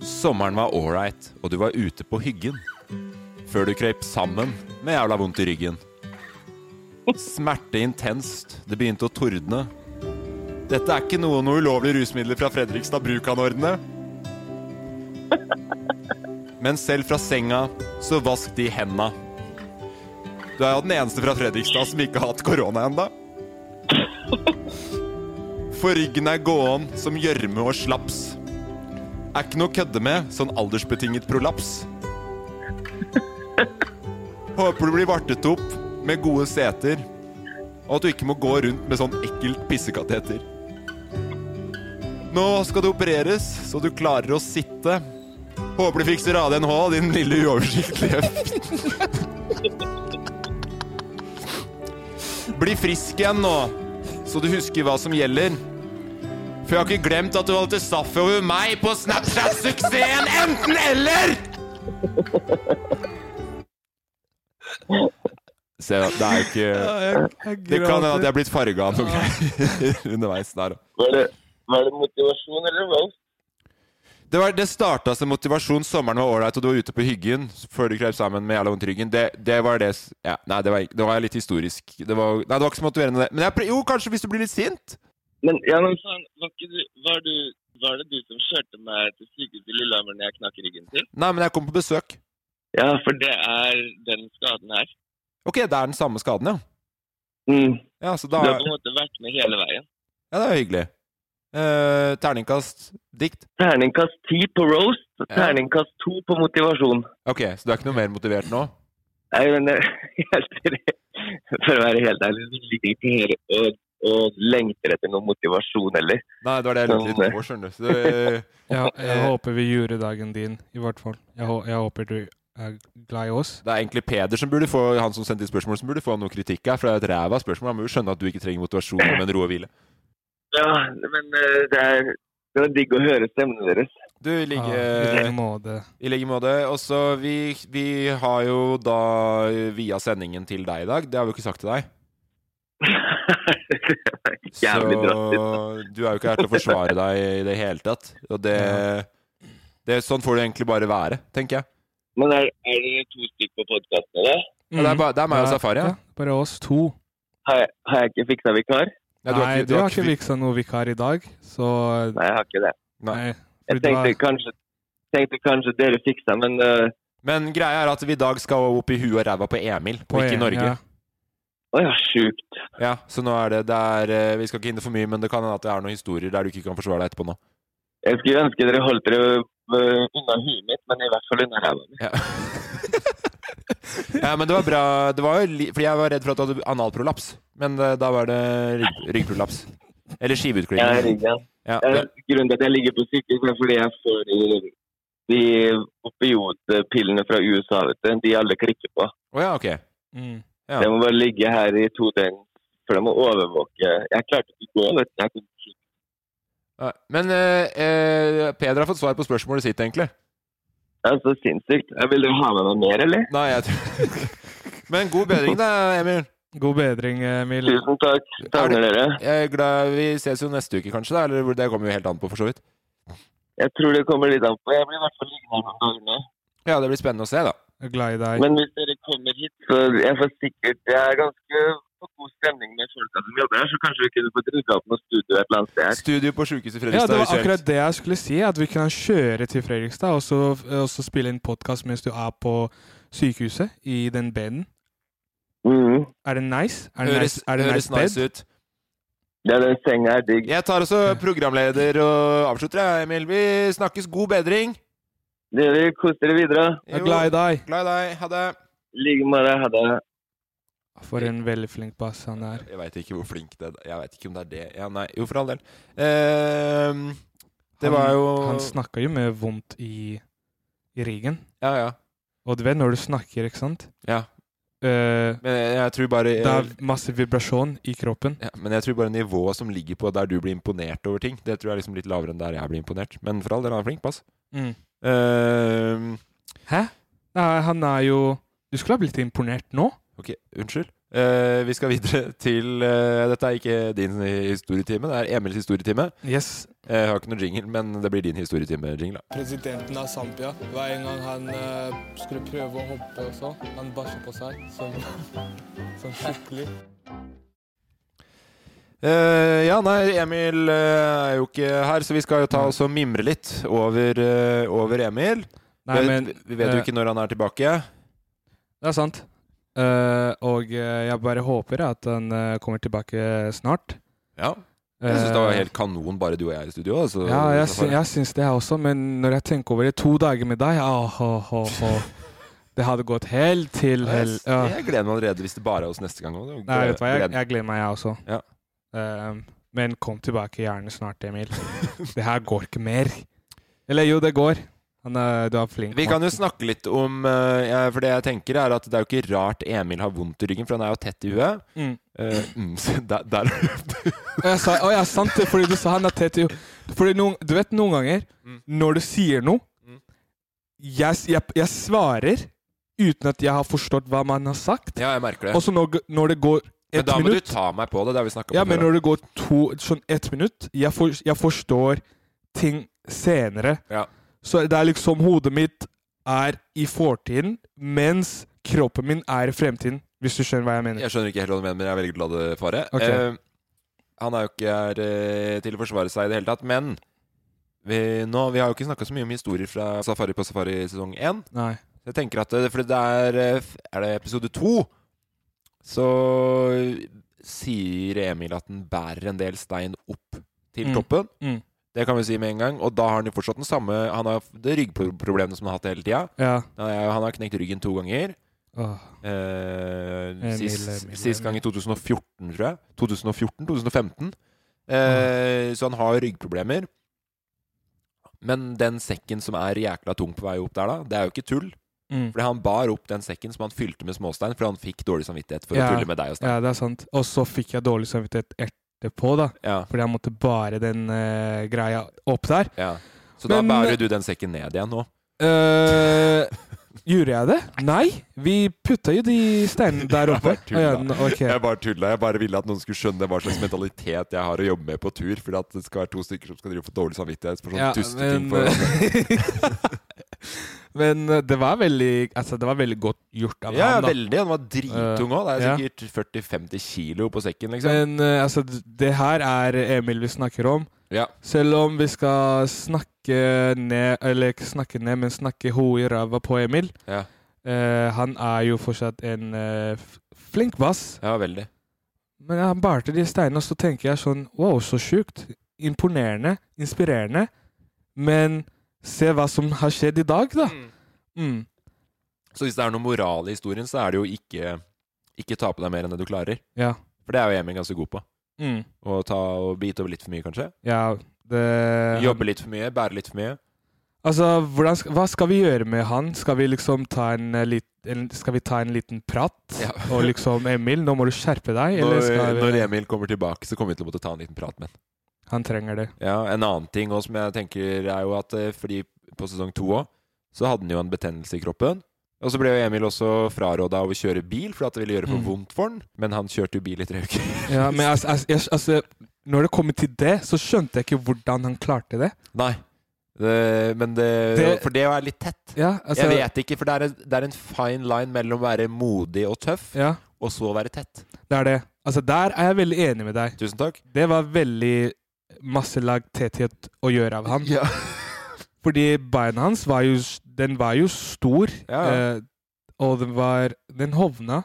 Sommeren var ålreit, og du var ute på hyggen. Før du krøyp sammen med jævla vondt i ryggen. Smerte intenst, det begynte å tordne. Dette er ikke noe noe ulovlige rusmidler fra Fredrikstad bruk kan ordne. Men selv fra senga, så vask de henda. Du er jo den eneste fra Fredrikstad som ikke har hatt korona enda. For ryggen er gåen som gjørme og slaps. Er ikke noe å kødde med, sånn aldersbetinget prolaps. Håper du blir vartet opp med gode seter, og at du ikke må gå rundt med sånn ekkelt pissekateter. Nå skal du opereres, så du klarer å sitte. Håper du fikser ADNH, din lille uoversiktlige f... Bli frisk igjen nå, så du husker hva som gjelder. For jeg har ikke glemt at du holdt et saff over meg på Snapchat-suksessen Enten-eller! Se, det er jo ikke Det kan hende at jeg er blitt farga av noe greier underveis der
Var det, var det motivasjon, eller hva?
Det, var- det starta som motivasjon. Sommeren var ålreit, og du var ute på hyggen før du krøp sammen med jævla vondt i ryggen. Det, det var det s- ja, Nei, det var, ikke- det var litt historisk. Det var, nei, det var ikke så motiverende, det. Men jeg, pr- jo, kanskje hvis du blir litt sint?
Men, ja, men faen, var, ikke du, var, du, var det du som kjørte meg til sykehuset i Lillehammer når jeg knakk ryggen til?
Nei, men jeg kom på besøk.
Ja, for det er den skaden her.
Ok, det er den samme skaden, ja.
Mm.
Ja, så da
Du har på en måte vært med hele veien.
Ja, det er hyggelig. Eh, terningkast dikt.
Terningkast ti på roast,
Ja.
terningkast to på motivasjon.
Ok, så du er ikke noe mer motivert nå?
Nei, men det, helt seriøst, for å være helt ærlig, så ligger jeg ikke her og, og lengter etter noe motivasjon heller.
Nei, det var det jeg lurte litt
Sånn,
på, skjønner du. Så det-
Jeg, jeg
eh,
håper vi gjorde dagen din, i hvert fall. Jeg, hå- jeg håper du er glad i oss.
det er egentlig Peder som burde få han som sendte inn spørsmål, som burde få noe kritikk her, for det er et ræva spørsmål. Han må jo skjønne at du ikke trenger motivasjon, men ro og hvile.
Ja, men eh, det er, det var digg å høre stemmen deres.
Du, i like,
Ja, i like måte.
I like måte. Og så vi, vi har jo da via sendingen til deg i dag. Det har vi jo ikke sagt til deg.
Jævlig drastisk.
Så du er jo ikke her til å forsvare deg i det hele tatt. Og det, det Sånn får det egentlig bare være, tenker jeg.
Men er, er dere to stykker på podkasten i dag?
Ja, det, er bare, det er meg og
Mhm. Ja,
Safari. Ja.
ja, Bare oss to.
Har, jeg- har jeg ikke fiksa vikar?
Ja, du har
Nei,
ikke-
du har ikke viksa noe vikar i dag, så
Nei, jeg har ikke det.
Nei.
Jeg
fordi du
tenkte
er-
kanskje, tenkte kanskje dere fiksa, men eh,
Men greia er at vi i dag skal opp i huet og ræva på Emil, og
På
ikke i
Emil,
Norge.
ja.
Å ja, sjukt.
Ja, så nå er det, det er, eh, Vi skal ikke inn i for mye, men det kan hende at det er noen historier der du ikke kan forsvare deg etterpå nå.
Jeg skulle ønske dere holdt dere eh, unna huet mitt, men i hvert fall unna ræva mi.
Ja. ja, men det var bra. Det var jo li fordi jeg var redd for at du hadde analprolaps, men eh, da var det rygg, ryggprolaps. Eller
Jeg er
skiveutglidning.
ryggen.
Ja,
Eh,
det-
Grunnen til at jeg ligger på sykehus, er fordi jeg får de, de opiodpillene fra USA, vet du. De alle klikker på.
Å ja, ok.
Mm.
Ja.
Jeg må bare ligge her i to døgn, for jeg må overvåke. Jeg klarte ikke å gå, vet du. Jeg kom ikke-
Ja, Men eh, eh, Peder har fått svar på spørsmålet sitt, egentlig.
Det er så sinnssykt. Jeg vil dere ha med meg mer, eller?
Nei, jeg tror Men god bedring, da, Emil.
God bedring, Emil.
Tusen takk. Savner dere.
Jeg er glad Vi ses jo neste uke, kanskje? da Eller Det kommer jo helt an på, for så vidt.
Jeg tror det kommer litt an på. Jeg blir i hvert fall liggende her noen dager nå.
Ja, det blir spennende å se, da.
Jeg er glad i deg.
Men hvis dere kommer hit, så jeg får sikkert Det er ganske på god stemning med folka som jobber her, så kanskje vi kunne fått rydda opp noe studio et eller annet sted.
Studio på sjukehuset i
Ja,
Fredrikstad.
det var
hvis helt-
akkurat det jeg skulle si. At vi kan kjøre til Fredrikstad og så, og så spille inn podkast mens du er på sykehuset i den beden. Er det nice? Er det
Høres,
nice, er det
høres
nice,
nice
bed?
ut.
Ja, den senga er digg.
Jeg tar også programleder og avslutter, jeg, Emil. Vi snakkes. God bedring.
Det gjør vi. Kos dere videre.
Jeg er glad i deg.
Glad i deg. Ha det.
I like måte. Ha det.
For en veldig flink bass han er.
Jeg veit ikke hvor flink det er. Jeg vet ikke om det er det. Ja, nei. Jo, for all del. Ehm, det var jo
Han, han snakka jo med vondt i, i ryggen.
Ja, ja.
Og du vet når du snakker, ikke sant?
Ja.
Eh,
Men jeg, jeg tror bare
det er masse vibrasjon i kroppen.
ja, Men jeg tror bare nivået som ligger på der du blir imponert over ting, det tror jeg er liksom litt lavere enn der jeg blir imponert. Men for all del, han er flink, pass.
Mm.
Ehm,
Hæ? Nei, han er jo Du skulle ha blitt imponert nå.
ok, unnskyld. Eh, vi skal videre til eh, Dette er ikke din historietime, det er Emils historietime.
Yes.
Eh, Jeg har ikke noen jingle, men det blir din historietime-jingle. da.
Presidenten av Zambia. Hver en gang han eh, skulle prøve å hoppe og sånn, han bæsja på seg. Sånn, sånn skikkelig.
Eh, ja, nei, Emil eh, er jo ikke her, så vi skal jo ta oss og mimre litt over, eh, over Emil.
Nei,
vi,
men
vet, vi vet jo
eh,
ikke når han er tilbake.
Det er sant. Eh, og eh, jeg bare håper at han eh, kommer tilbake snart.
Ja. Jeg syns det var
Eh,
helt kanon, bare du og jeg i studio. Altså,
Ja, jeg,
så
sy jeg syns det, jeg også, men når jeg tenker over det to dager med deg ah, ah, ah, ah. Det hadde gått helt til
Ja,
hell.
jeg,
Ja.
jeg gleder meg allerede hvis det bare er oss neste gang òg.
Nei, vet du hva, jeg, jeg gleder meg, jeg også.
Ja.
Eh, men kom tilbake gjerne snart, Emil. det her går ikke mer. Eller jo, det går. Han er, du er flink.
Vi kan jo
Morten.
snakke litt om eh, ja, For det jeg tenker, er at det er jo ikke rart Emil har vondt i ryggen, for han er jo tett i huet.
Mm.
Eh, mm, så der, der
Og jeg sa, å ja, sant det, fordi du sa han er tett i Fordi noen, du vet noen ganger, når du sier noe
Mm.
jeg, s- jeg, jeg svarer uten at jeg har forstått hva man har sagt.
Ja, jeg merker det.
Og så når, g- når det går
men
ett
da må
minutt
du ta meg på det. Det har vi snakka om
Ja, men
før.
når det går to, sånn ett minutt jeg, for, jeg forstår ting senere.
Ja.
Så det er liksom hodet mitt er i fortiden, mens kroppen min er i fremtiden. Hvis du skjønner hva jeg mener.
Jeg skjønner ikke helt hva du mener, men jeg velger å la det fare.
Ok.
Eh, han er jo ikke her eh, til å forsvare seg i det hele tatt, men vi, nå, vi har jo ikke snakka så mye om historier fra Safari på Safari sesong én.
Nei.
Så Jeg tenker at eh, For det er eh, f- Er det episode to? Så eh, sier Emil at den bærer en del stein opp til
Mm.
toppen.
Mm.
Det kan vi si med en gang. Og da har han jo fortsatt den samme Han har det ryggproblemet som han har hatt hele tida.
Ja.
Han har knekt ryggen to ganger.
Åh.
Eh,
Emil,
sist,
Emil,
sist gang i
Emil.
2014, tror jeg. 2014-2015. Eh,
Mm.
Så han har ryggproblemer. Men den sekken som er jækla tung på vei opp der, da, det er jo ikke tull.
Mm.
Fordi han bar opp den sekken som han fylte med småstein, fordi han fikk dårlig samvittighet for
Ja.
å tulle med deg og stein.
Ja, det er sant. Og så fikk jeg dårlig samvittighet etterpå, da.
Ja.
Fordi jeg måtte bare den eh, greia opp der.
Ja. Så da
Men-
bærer du den sekken ned igjen nå.
Eh, gjorde jeg det? Nei! Vi putta jo de steinene der
Jeg
oppe.
bare tulla.
Å, ja, den- ok.
Jeg bare tulla. Jeg bare ville at noen skulle skjønne hva slags mentalitet jeg har å jobbe med på tur. Fordi at det skal være to stykker som skal drive og få dårlig samvittighet for sånne
Ja,
tusteting.
men- eh,
for hverandre.
Men eh, det var veldig Altså, det var veldig godt gjort av
Ja,
ham, da.
veldig. Han var drittung òg. Det
ja.
er sikkert 40-50 kilo på sekken, liksom.
Men eh, altså, d- det her er Emil vi snakker om.
Ja.
Selv om vi skal snakke ned Eller ikke snakke ned, men snakke hodet i ræva på Emil.
Ja.
Eh, han er jo fortsatt en eh, f- flink bass.
ja, veldig.
Men han bærte de steinene, og så tenker jeg sånn Wow, så sjukt. Imponerende. Inspirerende. Men se hva som har skjedd i dag, da. Mm.
Så hvis det er noe moral i historien, så er det jo ikke Ikke ta på deg mer enn det du klarer.
Ja.
For det er jo Emil ganske god på.
Mm.
Å ta og bite over litt for mye, kanskje.
Ja, det
Jobbe litt for mye, bære litt for mye.
Altså, hvordan, sk- hva skal vi gjøre med han? Skal vi liksom ta en, eh, lit, en, skal vi ta en liten prat?
Ja.
Og liksom 'Emil, nå må du skjerpe deg', eller
Når,
skal
når
vi
Emil kommer tilbake, så kommer vi til å måtte ta en liten prat med ham.
Han trenger det.
Ja, en annen ting også, som jeg tenker er jo at eh, fordi på sesong to òg, så hadde han jo en betennelse i kroppen. Og så ble jo Emil også fraråda av å kjøre bil, for at det ville gjøre for
Mm.
vondt for han. Men han kjørte jo bil i tre uker.
Ja, men altså, altså, jeg- altså, når det kommer til det, så skjønte jeg ikke hvordan han klarte det.
Nei. Det- men det,
Det-
For det er litt tett.
Ja, altså-
jeg vet ikke, for det er, en- det er en fine line mellom å være modig og tøff,
Ja.
og så være tett.
Det er det. Altså, der er jeg veldig enig med deg.
Tusen takk.
Det var veldig masse lag tetthet å gjøre av han.
Ja.
Fordi beina hans var jo, s- den var jo stor,
Ja, ja.
Eh, og den var Den hovna.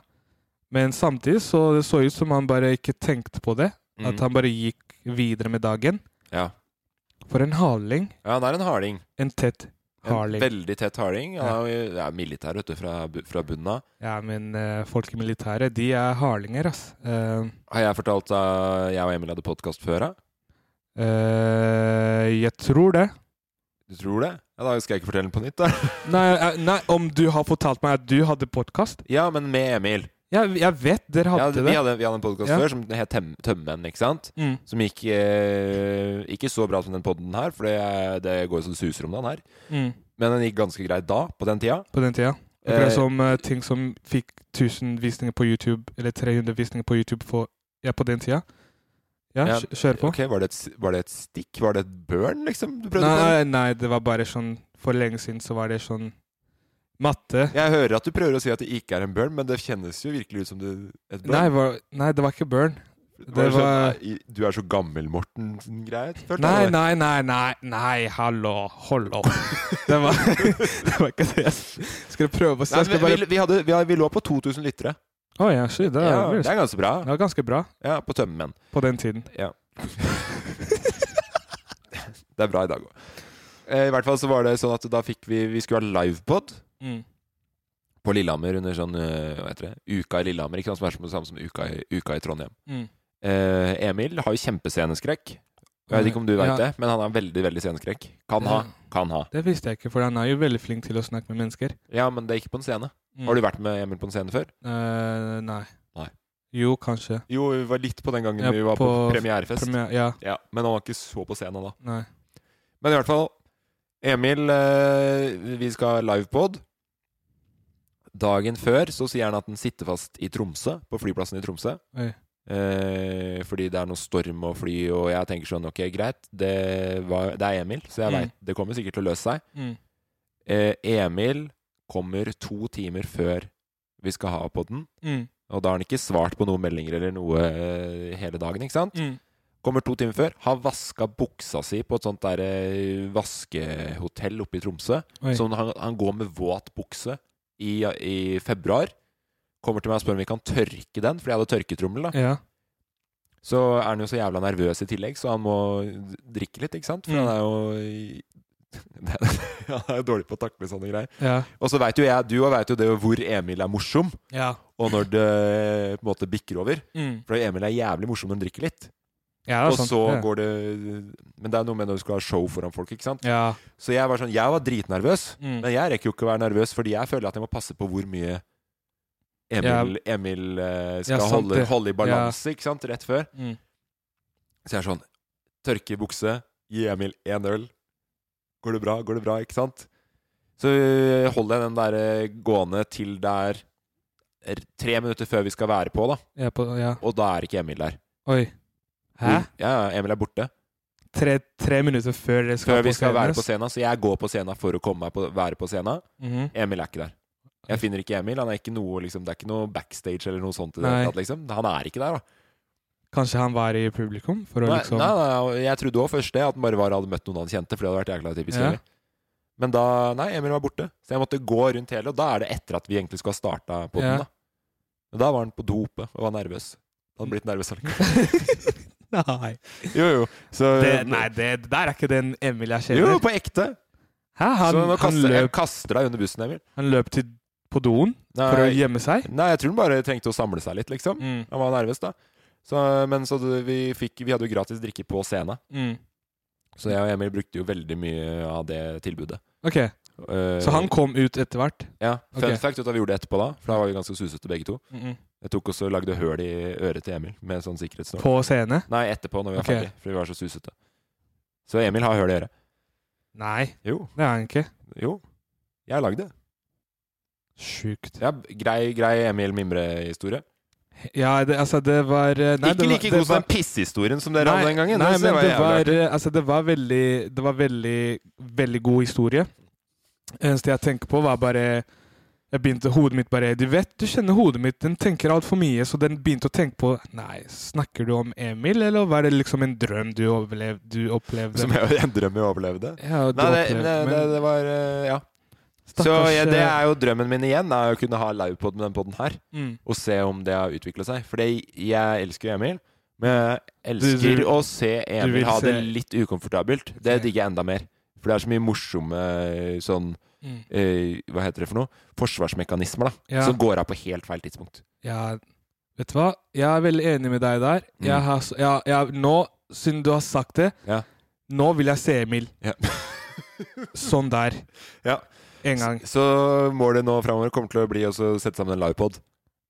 Men samtidig så det så ut som han bare ikke tenkte på det.
Mm.
At han bare gikk videre med dagen.
Ja.
For en harling.
Ja, han er en harding.
En tett
En
harling.
veldig tett harding. Han er, jo- er militær, vet du, fra, bu- fra bunnen av.
Ja, men eh, folk i militæret, de er harlinger, ass. Eh,
Har jeg fortalt at jeg og Emil hadde podkast før? da?
eh, jeg tror det.
Du tror det? Ja, Da skal jeg ikke fortelle den på nytt, da.
Nei, eh, nei, om du har fortalt meg at du hadde podkast?
Ja, men med Emil.
Jeg, jeg vet dere hadde,
Ja, vi,
det.
hadde, vi hadde en podkast
Ja.
før som het Tøm Tømmen, ikke sant?
Mm.
Som gikk eh, ikke så bra som den podden her, for det, er- det går jo så det suser om den her.
Mm.
Men den gikk ganske greit da, på den tida.
På den tida. Akkurat
Eh,
som eh, ting som fikk 1000 visninger på YouTube, eller 300 visninger på YouTube for, ja, på den tida. Ja,
Ja,
kj- kjør på.
Ok, var det, et, s- var det et stikk? Var det et burn, liksom? Du prøvde
Nei,
på?
nei, eh, nei, det var bare sånn For lenge siden så var det sånn matte.
Jeg hører at du prøver å si at det ikke er en burn, men det kjennes jo virkelig ut som det, et burn.
Nei, var, nei, det var ikke burn.
Var
Det var
det sånn, nei, du er så gammel, Morten-greie?
Nei, nei, nei, nei, nei, hallo, hold opp. Det var, det var ikke det jeg s- skulle prøve å si.
Nei,
Jeg
men
skulle bare
vi, vi, hadde, vi, hadde, vi lå på 2000 lyttere.
Å ja, shit. Det, er
Ja,
vel-
det er ganske bra.
det var ganske bra
Ja, På tømmermenn.
på den tiden.
Ja. det er bra i dag òg. I hvert fall så var det sånn at da fikk vi Vi skulle ha livepod
Mm.
på Lillehammer under sånn eh, Hva heter det? Uka i Lillehammer. Ikke sant, som er som det samme som uka i, uka i Trondheim.
Mm.
Eh, Emil har jo kjempesceneskrekk. Jeg vet ikke om du veit
Ja.
det, men han har veldig veldig sceneskrekk. Kan ha. Kan ha.
Det visste jeg ikke, for han er jo veldig flink til å snakke med mennesker.
Ja, men det er ikke på en scene.
Mm.
Har du vært med Emil på en scene før?
Eh, nei.
Nei.
Jo, kanskje.
Jo, vi var litt på den gangen
Ja,
vi var på,
på
premierefest.
Premier, ja,
Ja, men han var ikke så på scenen da.
nei.
Men i hvert fall, Emil, eh, vi skal ha livepod. Dagen før så sier han at han sitter fast i Tromsø, på flyplassen i Tromsø.
Oi.
Eh, fordi det er noe storm og fly, og jeg tenker sånn Ok, greit, det, var, det er Emil, så jeg
Mm.
vet det kommer sikkert til å løse seg.
Mm.
Eh, Emil kommer to timer før vi skal ha podden,
Mm.
og da har han ikke svart på noen meldinger eller noe eh, hele dagen, ikke sant?
Mm.
Kommer to timer før, har vaska buksa si på et sånt der eh, vaskehotell oppe i Tromsø.
Oi.
Så han, han går med våt bukse i, i februar. Kommer til meg og spør om vi kan tørke den, fordi jeg hadde tørketrommel. da.
Ja.
Så er han jo så jævla nervøs i tillegg, så han må d- drikke litt, ikke sant? For
Mm.
han er jo i- Han er jo dårlig på å takle sånne greier.
Ja.
Og så veit jo jeg, du og veit jo det hvor Emil er morsom,
Ja.
og når det eh, på en måte bikker over.
Mm.
For Emil er jævlig morsom når han drikker litt.
ja det er
Og
sant,
så
det.
går det Men det er noe med når du skal ha show foran folk, ikke sant?
Ja.
Så jeg var sånn Jeg var dritnervøs,
Mm.
men jeg rekker jo ikke å være nervøs fordi jeg føler at jeg må passe på hvor mye Emil, Emil eh, skal
Ja, sant
holde,
det.
holde i balanse, ikke sant, rett før.
Mm.
Så jeg er sånn Tørke bukse, gi Emil én øl. Går det bra? Går det bra? Ikke sant? Så øh, holder jeg den der øh, gående til det er er tre minutter før vi skal være på, da.
Ja, på, ja.
Og da er ikke Emil der.
Oi. Hæ?
Mm. Ja, ja, Emil er borte.
Tre, tre minutter før dere skal
Før vi skal være
ass?
på scenen. Så jeg går på scenen for å komme meg på, være på scenen.
Mhm.
Emil er ikke der. Jeg finner ikke Emil. Han er ikke noe, liksom, det er ikke noe backstage eller noe sånt. i Det,
Nei.
hele tatt, liksom. Han er ikke der, da.
Kanskje han var i publikum for å
Nei,
liksom
nei, nei, jeg trodde òg først det, at han bare var, hadde møtt noen han kjente. For det hadde vært jækla typisk
Ja.
Emil. Men da Nei, Emil var borte. Så jeg måtte gå rundt hele, og da er det etter at vi egentlig skal ha starta
Ja.
poden, da. Men da var han på do oppe og var nervøs. Han hadde blitt nervøs allikevel.
Nei.
Jo, jo. Så,
Det, nei, det der er ikke den Emil jeg kjenner.
jo, på ekte.
Hæ? Han,
så nå
han,
kaster, jeg
løp,
kaster deg under bussen, Emil.
han løp til på doen for å
Nei,
gjemme seg?
Nei, jeg tror han bare trengte å samle seg litt, liksom.
Mm.
Han var nervøs, da. Så, men så det- vi, fikk, vi hadde jo gratis drikke på scenen,
Mm.
så jeg og Emil brukte jo veldig mye av det tilbudet.
Ok,
Eh,
så han kom ut etter hvert?
Ja. Fun
Ok.
fact vet du hva vi gjorde etterpå da, for da var vi ganske susete begge to.
Mm.
Jeg tok også og lagde høl i øret til Emil med sånn sikkerhetsnål.
På scene?
Nei, etterpå, når vi var
Ok.
ferdig, fordi vi var så susete. Så Emil har høl i øret.
Nei,
Jo.
det er han ikke.
Jo. Jeg har lagd det.
Sjukt.
Ja, grei, grei Emil Mimre-historie.
Ja, det, altså, det var eh, nei, det
Ikke
var-
like
det
god som
var-
den pisshistorien som dere hadde den gangen.
Nei,
Det
men
var
det
jævlig
var,
artig.
eh, altså, det var veldig Det var veldig, veldig god historie. Eneste jeg tenker på, var bare Jeg begynte hodet mitt bare Du vet, du kjenner hodet mitt, den tenker altfor mye, så den begynte å tenke på Nei, snakker du om Emil, eller var det liksom en drøm du, overlev, du opplevde?
Som jeg, en drøm jeg overlevde.
Ja, du
Nei,
opplevde,
det, det, det,
men-
det var eh, Ja. så
Stakkars,
ja, det
eh,
er jo drømmen min igjen, er å kunne ha livepod med den podden her.
Mm.
Og se om det har utvikla seg. For det, jeg elsker jo Emil. Men jeg elsker
Du- du-
å se
du vil
Emil ha det
se-
litt ukomfortabelt. Det digger jeg enda mer. For det er så mye morsomme sånn
Mm.
eh, Hva heter det for noe? Forsvarsmekanismer, da.
Ja.
Som går av på helt feil tidspunkt.
Ja, vet du hva? Jeg er veldig enig med deg der.
Mm.
Jeg har, s- jeg, jeg, nå, siden du har sagt det,
Ja.
nå vil jeg se Emil. sånn der.
Ja.
En gang.
Så, målet nå framover kommer til å bli å sette sammen en livepod.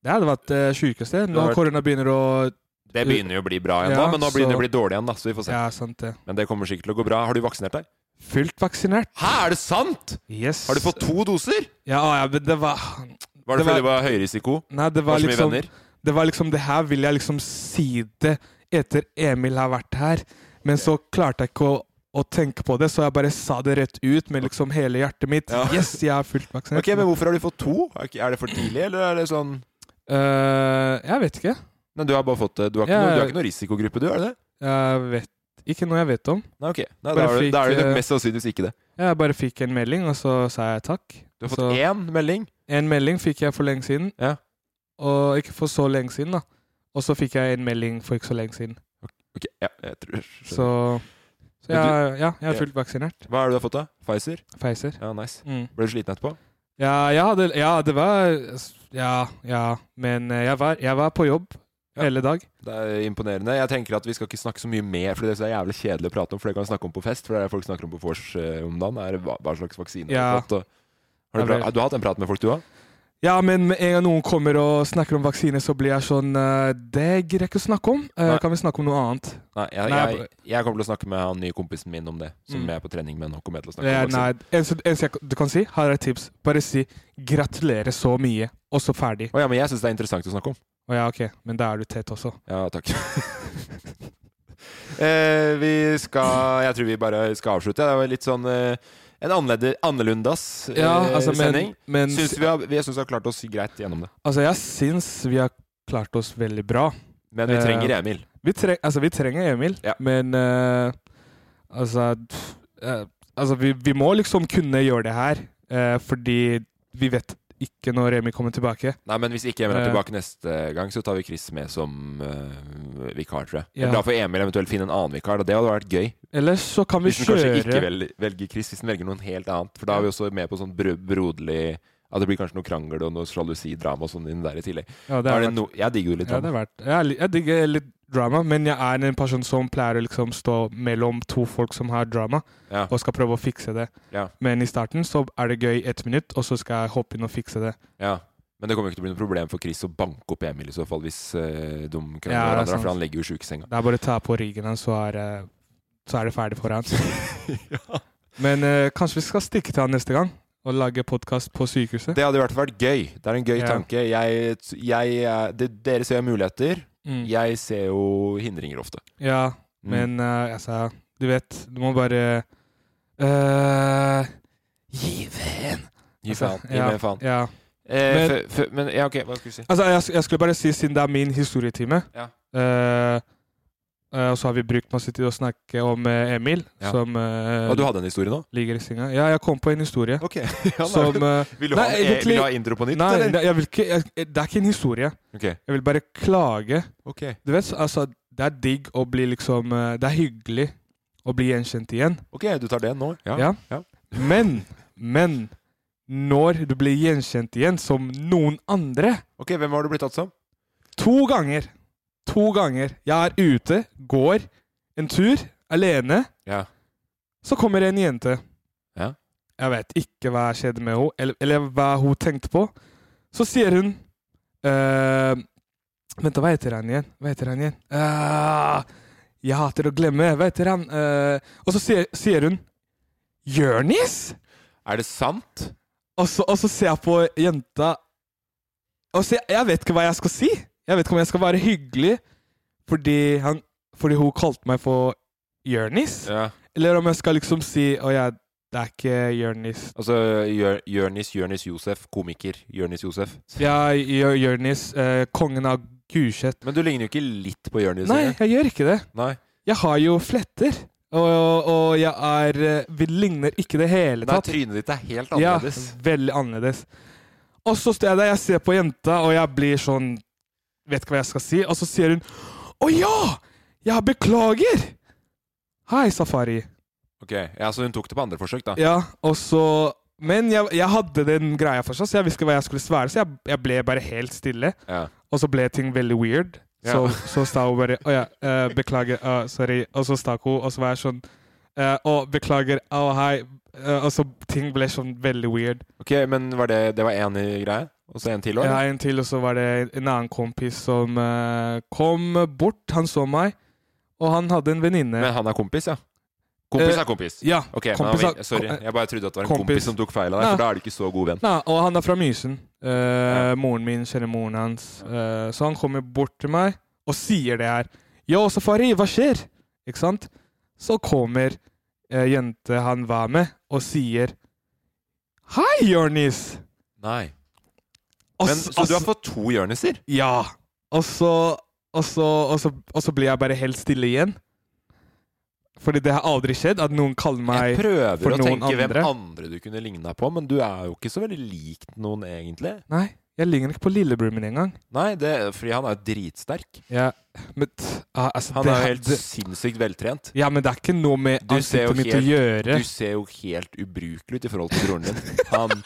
Det hadde vært uh, sjukeste.
Det
Når
hadde vært-
korona begynner å
Det begynner jo å bli bra igjen
Ja,
nå, men nå begynner det
så-
å bli dårlig igjen, da. Så vi får se.
Ja, sant det.
Men det kommer sikkert til å gå bra. Har du vaksinert deg?
Fullt vaksinert.
Hæ, er det sant?!
Yes.
Har du fått to doser?!
Ja, ja, men det var
Var det,
Det var-
fordi det var høy risiko?
Nei, det var
Var så mye
liksom
venner?
Det var liksom Det her vil jeg liksom si det etter Emil har vært her, men så klarte jeg ikke å, å tenke på det, så jeg bare sa det rett ut med liksom hele hjertet mitt.
Ja.
Yes, jeg er fullt vaksinert.
Ok, Men hvorfor har du fått to? Er ikke- Er det for tidlig, eller er det sånn
Eh, jeg vet ikke.
Nei, du har bare fått det. Du har ikke,
Ja.
noe, du har ikke noe risikogruppe, du, er det det?
Jeg vet ikke noe jeg vet om.
Nei, ok. Nei, da
Bare
er det, da er det
fikk,
nok
eh,
mest sannsynligvis ikke det.
Jeg bare fikk en melding, og så sa jeg takk.
Du har fått én melding.
En melding fikk jeg for lenge siden.
Ja.
Og ikke for så lenge siden, da. Og så fikk jeg en melding for ikke så lenge siden.
Ok, ja, jeg tror skjønner.
Så, så jeg,
Men du-
ja, jeg er fullt vaksinert.
Hva er det du har fått, da? Pfizer?
Pfizer.
Ja, nice.
Mm.
Ble du sliten etterpå?
Ja, jeg hadde, ja, det var Ja, ja. Men eh, jeg var, jeg var på jobb hele dag.
Det er imponerende. Jeg tenker at Vi skal ikke snakke så mye mer, Fordi det er jævlig kjedelig å prate om. For det kan vi snakke om på fest. For det er det folk snakker om på vors eh, om dagen. Er hva, hva slags vaksine du
Ja.
har fått. Og, har
Ja,
du,
vel.
pra- du har hatt en prat med folk, du òg?
Ja, men med en gang noen kommer og snakker om vaksine, så blir jeg sånn eh, Det greier jeg ikke å snakke om. Eh,
Nei.
Kan vi snakke om noe annet?
Nei, jeg,
Nei,
jeg, jeg kommer til å snakke med han nye kompisen min om det. Som
Mm.
jeg er på trening med nå. Kommer jeg til å snakke
Eh,
om
nei, eneste eneste jeg du kan si, har jeg et tips. Bare si 'gratulerer så mye', og så ferdig.
Å ja, men jeg syns det er interessant å snakke om.
Å ja, ok. Men da er du tett også.
Ja, takk. eh, vi skal Jeg tror vi bare skal avslutte. Det var litt sånn eh, en annerledes, annerledes eh,
Ja, altså, men-
sending.
men-
syns vi, har, vi- jeg syns vi har klart oss greit gjennom det.
Altså, jeg syns vi har klart oss veldig bra.
Men vi
Eh,
trenger Emil.
Vi, tre altså, vi trenger Emil, men eh, altså pff, eh, Altså, vi, vi må liksom kunne gjøre det her, eh, fordi vi vet ikke når Emil kommer tilbake.
Nei, men Hvis ikke Emil er
Eh.
tilbake neste gang, så tar vi Chris med som eh, vikar, tror jeg.
Ja.
Eller da får Emil eventuelt finne en annen vikar. Da. Det hadde vært gøy.
Ellers så kan vi
Hvis den kanskje
kjøre
ikke vel, velger Chris, hvis den velger noen helt annet. For da er vi også med på sånn bro broderlig At det blir kanskje noe krangel og noe sjalusidrama og sånn inni der i tillegg.
Ja, det
Da
er
er det
verdt-
no, jeg digger jo litt
Ja, det
drama.
er verdt. Jeg, er li- jeg digger litt drama, men jeg er en person som pleier å liksom stå mellom to folk som har drama,
Ja.
og skal prøve å fikse det.
Ja.
Men i starten så er det gøy ett minutt, og så skal jeg hoppe inn og fikse det.
Ja. Men det kommer jo ikke til å bli noe problem for Chris å banke opp Emil i så fall, hvis eh, de krangler
Ja, det er
hverandre.
sant.
For han ligger jo i sjukesenga.
Det er bare å ta på ryggen hans, så, er det- så er det ferdig for han. Men eh, kanskje vi skal stikke til han neste gang og lage podkast på sykehuset?
Det hadde i hvert fall vært gøy. Det er en gøy
Ja.
tanke. Jeg, jeg, er- det, dere ser jo muligheter.
Mm.
Jeg ser jo hindringer ofte.
Ja,
Mm.
men eh, altså Du vet, du må bare eh, Gi faen!
Gi faen.
altså,
Gi
ja,
meg faen.
Ja.
Eh,
Men-
fø- fø- men ja, ok, hva skulle du si?
Altså, jeg, jeg skulle bare si, siden det er min historietime
Ja.
eh, eh, Og så har vi brukt masse tid å snakke om eh, Emil,
Ja.
som eh,
Og du hadde en historie nå?
ligger i senga. Ja, jeg kom på en historie.
Ok.
som, eh,
vil, du ha,
nei,
en- e-
egentlig-
vil du ha intro på nytt,
Nei,
eller?
nei, jeg vil ikke, jeg, det er ikke en historie.
Ok.
Jeg vil bare klage.
Ok.
Du vet, altså, det er digg å bli liksom eh, Det er hyggelig å bli gjenkjent igjen.
Ok, du tar den nå? Ja.
Ja. Men, men Når du blir gjenkjent igjen som noen andre
Ok, Hvem har du blitt tatt som?
To ganger. To ganger. Jeg er ute, går en tur alene.
Ja.
Så kommer en jente.
Ja.
Jeg vet ikke hva skjedde med henne, eller, eller hva hun tenkte på. Så sier hun eh, Vent, da, hva heter han igjen? Hva heter han igjen? Ah, jeg hater å glemme. Hva heter han? Eh, og så sier, sier hun Jørnis?
Er det sant?
Og så, og så ser jeg på jenta Og så, jeg vet ikke hva jeg skal si. Jeg vet ikke om jeg skal være hyggelig fordi, han, fordi hun kalte meg for Jørnis. Eller om jeg skal liksom si Å ja, det er ikke Jørnis.
Altså Jør- Jørnis Jørnis Josef, komiker Jørnis Josef.
Ja, Jør- Jørnis, eh, kongen av Gulset.
Men du ligner jo ikke litt på Jørnis.
Nei,
engang.
jeg gjør ikke det.
Nei.
Jeg har jo fletter. Og, og, og jeg er eh, Vi ligner ikke i det hele
Nei,
tatt.
trynet ditt er helt annerledes.
Ja, veldig annerledes. Og så står jeg der, jeg ser på jenta, og jeg blir sånn Vet ikke hva jeg skal si. Og så sier hun Å ja! Jeg beklager! Hei, Safari.
Ok, ja, Så hun tok det på andre forsøk, da?
Ja, og så Men jeg, jeg hadde den greia for seg, så jeg visste ikke hva jeg skulle svare, så jeg, jeg ble bare helt stille.
Ja.
Og så ble ting veldig weird.
Ja.
Så, så sta hun bare Å ja, eh, beklager, ah, sorry. Og så stakk hun, og så var jeg sånn eh, Å, beklager, å hei. Eh, og så ting ble sånn veldig weird.
Ok, Men var det, det var én greie? Og så en til?
Ja,
eller?
en til, og så var det en annen kompis som eh, kom bort. Han så meg, og han hadde en venninne.
Men han er kompis, ja? Kompis
Eh,
er kompis?
ja,
Ok, men
kompis
han,
er-
vil- Sorry,
kom- eh,
jeg bare trodde at det var en kompis,
kompis.
som tok feil av deg,
Nei.
for da er du ikke så god venn.
Nei, og han er fra Mysen. Eh, Moren min kjenner moren hans. Eh, så han kommer bort til meg og sier det her. Yo, Safari, hva skjer? Ikke sant? Så kommer eh, jente han var med, og sier Hei, Jonis!
Nei.
Og
Men,
s-
så
og
du har fått to Jørniser?
Ja. Og så, og så, og så, og så blir jeg bare helt stille igjen. Fordi det har aldri skjedd at noen kaller meg
Jeg prøver
for
å
noen
tenke hvem
andre.
andre du kunne ligna på, men du er jo ikke så veldig lik noen, egentlig.
Nei, jeg ligner ikke på lillebroren min engang.
Nei, det, fordi han er jo dritsterk.
Ja, men t- ah, altså,
Han
det
er
her-
jo helt
det-
sinnssykt veltrent.
Ja, men det er ikke noe med
Du ser jo
ansiktet mitt å
helt-
gjøre.
Du ser jo helt ubrukelig ut i forhold til broren din. Han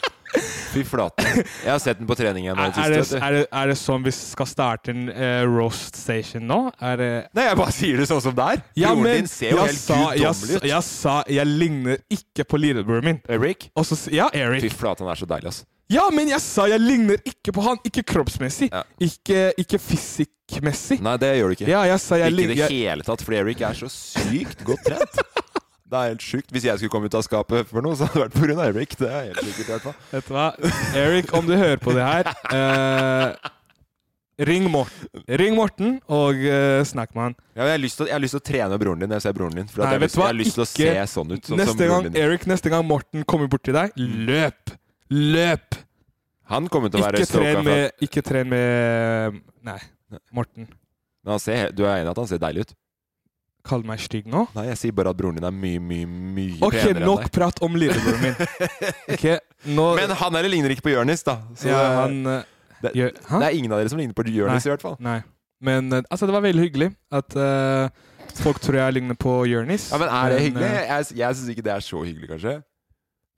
Fy flate. Jeg har sett den på trening igjen. nå i
Er,
det
er, det,
siste, vet du.
er, det, er det sånn vi skal starte en eh, roast station nå? Er det
Nei, jeg bare sier det sånn som det er.
Ja,
broren
men
din ser jo
jeg
helt
sa- jeg
guddommelig
sa-
ut.
Jeg sa jeg ligner ikke på lillebroren min.
Eric?
Og så, s- ja, Eric.
Fy flate, han er så deilig, ass.
Ja, men jeg sa jeg ligner ikke på han. Ikke kroppsmessig. Ikke, ikke fysikkmessig.
Nei, det gjør du ikke.
Ja, jeg sa jeg
ikke i
ligner
det
jeg-
hele tatt, for Eric er så sykt godt trent. Det er helt sjukt. Hvis jeg skulle komme ut av skapet for noe, så hadde det vært pga. Eric. Det er helt sikkert, i hvert fall.
Vet du hva? Eric, om du hører på det her eh, Ring Morten. Ring Morten og eh, snakk med han.
Ja, men jeg, har lyst til, å- jeg har lyst til å trene broren din når jeg ser broren din. For at
Nei,
jeg, har
vet
lyst,
du hva?
jeg har lyst til å se
Ikke-
sånn ut. Sånn som
neste gang
broren din.
Eric, neste gang Morten kommer bort til deg, løp! Løp!
Han kommer til å være
Ikke
stoka
tren
for at-
med, ikke tren med Nei, Morten.
Men han ser, Du er enig i at han ser deilig ut?
Kaller meg stygg nå?
Nei, jeg sier bare at broren din er mye, mye, mye
Ok,
penere enn
nok
deg.
prat om lillebroren min. Ok, nå
Men han eller ligner ikke på Jonis, da. Så
ja,
det-
han, eh,
det,
gjør- Hæ?
det er ingen av dere som ligner på Jonis, i hvert fall.
Nei. Men eh, altså, det var veldig hyggelig at eh, folk tror jeg ligner på Jonis.
Ja, men er det hyggelig?
eh,
Jeg, jeg syns ikke det er så hyggelig, kanskje.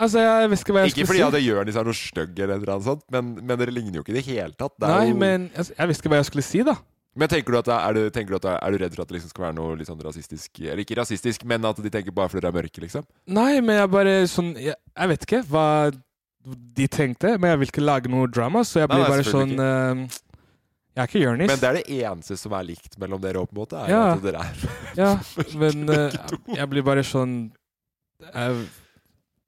altså, jeg vet ikke hva jeg
Ikke fordi
skulle
at
si.
Jonis er noe stygg, eller et eller annet sånt, men, men dere ligner jo ikke i det hele tatt. Det er
Nei,
jo...
men altså, jeg visste ikke hva jeg skulle si, da.
Men tenker du at det er, er, du, tenker du at det er, er du redd for at det liksom skal være noe litt sånn rasistisk Eller ikke rasistisk, men at de tenker bare fordi dere er mørke, liksom?
Nei, men jeg bare sånn Jeg, jeg vet ikke hva de tenkte, men jeg vil ikke lage noe drama, så jeg
Nei,
blir
nei,
bare sånn
selvfølgelig
eh, Jeg er ikke Jonis.
Men det er det eneste som er likt mellom dere, på en måte, er
Ja.
at dere er
Ja, men eh, jeg blir bare sånn Jeg,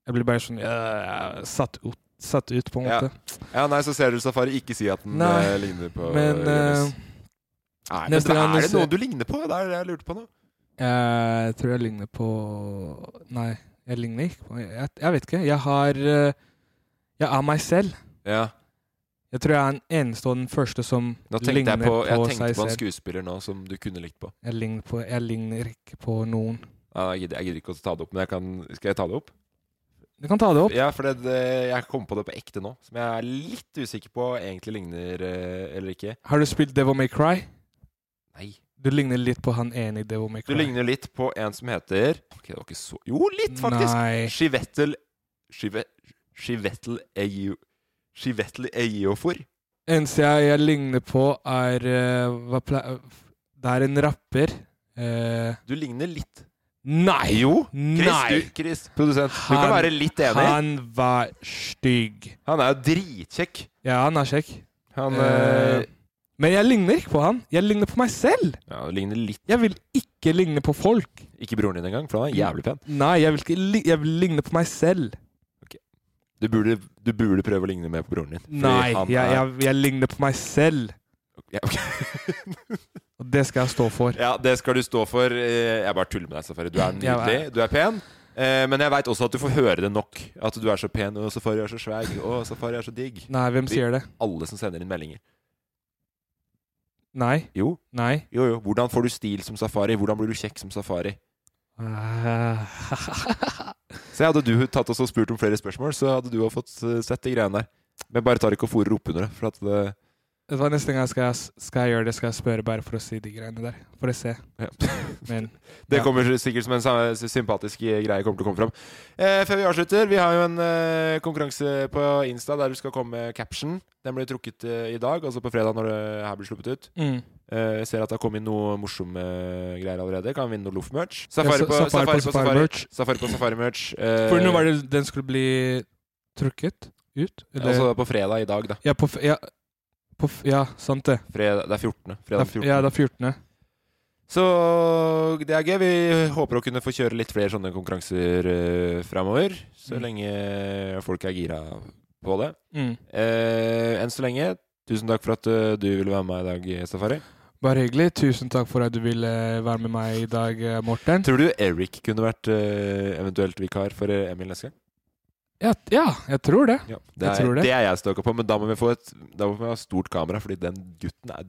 jeg blir bare sånn eh, satt, ut, satt ut, på en
ja.
måte.
ja, nei, så ser du Safari ikke si at den
Nei,
eh, ligner på
men,
Jonis.
eh,
Nei, men
neste gang
er
du
det
ser-
noen du ligner på? Det er det jeg lurte på nå.
Jeg tror jeg ligner på Nei, jeg ligner ikke på Jeg, jeg vet ikke. Jeg har eh, Jeg er meg selv.
Ja.
Jeg tror jeg er den eneste og den første som
Nå tenkte
ligner
jeg på,
på,
jeg tenkte
seg
på en
selv.
skuespiller nå som du kunne likt på.
Jeg ligner, på, jeg ligner ikke på noen.
Ja, Jeg gidder, jeg gidder ikke å ta det opp, men jeg kan, skal jeg ta det opp?
Du kan ta det opp.
Ja, for det, det, jeg kom på det på ekte nå, som jeg er litt usikker på egentlig ligner eh, eller ikke.
Har du spilt Devil May Cry?
Nei.
Du ligner litt på han ene i Devil May
Du
Cry.
ligner litt på en som heter Ok, det var ikke så Jo, litt, faktisk!
Nei.
Shivettel Shive, Shivettel Eyo... Shivettel Eyofor.
Eneste jeg, jeg ligner på, er eh, hva ple Det er en rapper. Eh,
Du ligner litt.
nei!
Jo! Chris,
nei!
du, Chris produsent. Du kan være litt enig. Han,
Han var stygg.
er jo dritkjekk.
Ja, han er kjekk.
Han
Eh,
eh,
men jeg ligner ikke på han. Jeg ligner på meg selv.
ja, du ligner litt
Jeg vil ikke ligne på folk.
Ikke broren din engang, for han er jævlig pen.
Nei, jeg vil, ikke li jeg vil ligne på meg selv.
Du burde, du burde prøve å ligne mer på broren din. fordi
Nei,
han
jeg,
er-
jeg, jeg ligner på meg selv.
Ja, ok.
Og det skal jeg stå for.
Ja, det skal du stå for. Eh, Jeg bare tuller med deg, Safari. Du er
Ja, jeg
nydelig, du er pen. Eh, Men jeg veit også at du får høre det nok. At du er så pen, og Safari er så svær, og Safari er så digg.
Nei, hvem sier det?
Alle som sender inn meldinger.
Nei.
Jo,
Nei.
jo, jo. Hvordan får du stil som Safari? Hvordan blir du kjekk som Safari?
Ah.
Så hadde du tatt oss og spurt om flere spørsmål, så hadde du også fått eh, sett de greiene der. Men bare tar ikke og fòrer opp under det. For at det
Vet du hva, Neste gang skal jeg, skal jeg gjøre det, skal jeg spørre bare for å si de greiene der. For å se.
ja.
Men
Det
Ja.
kommer sikkert som en sa- sympatisk greie kommer til å komme fram. Eh, før vi avslutter, vi har jo en eh, konkurranse på Insta der du skal komme med caption. Den blir trukket eh, i dag, altså på fredag når det her blir sluppet ut.
Mm.
Eh, jeg ser at det har kommet noe morsomme eh, greier allerede. Kan vinne noe Loff-merch. Safari,
Ja,
på
sa-
Safari på Safari.
merch.
Safari på Safari-merch. eh,
For nå var det den skulle bli trukket ut? Eller?
Altså på fredag i dag, da.
ja, på, f- ja, på, f- ja, sant det.
Fredag, det er 14.
Det
Fredag
er f-
14.
Ja, det er 14.
Så det er gøy. Vi håper å kunne få kjøre litt flere sånne konkurranser uh, framover. Så
Mm.
lenge folk er gira på det.
Mm.
Eh, enn så lenge, tusen takk for at eh, du ville være med meg i dag, Safari.
Bare hyggelig. Tusen takk for at du ville være med meg i dag, eh, Morten.
Tror du Eric kunne vært eh, eventuelt vikar for eh, Emil neste gang?
Ja, ja jeg tror det.
Det
Jeg
er
tror det.
det er jeg stoka på, men da må vi få et Da må vi ha stort kamera, fordi den gutten er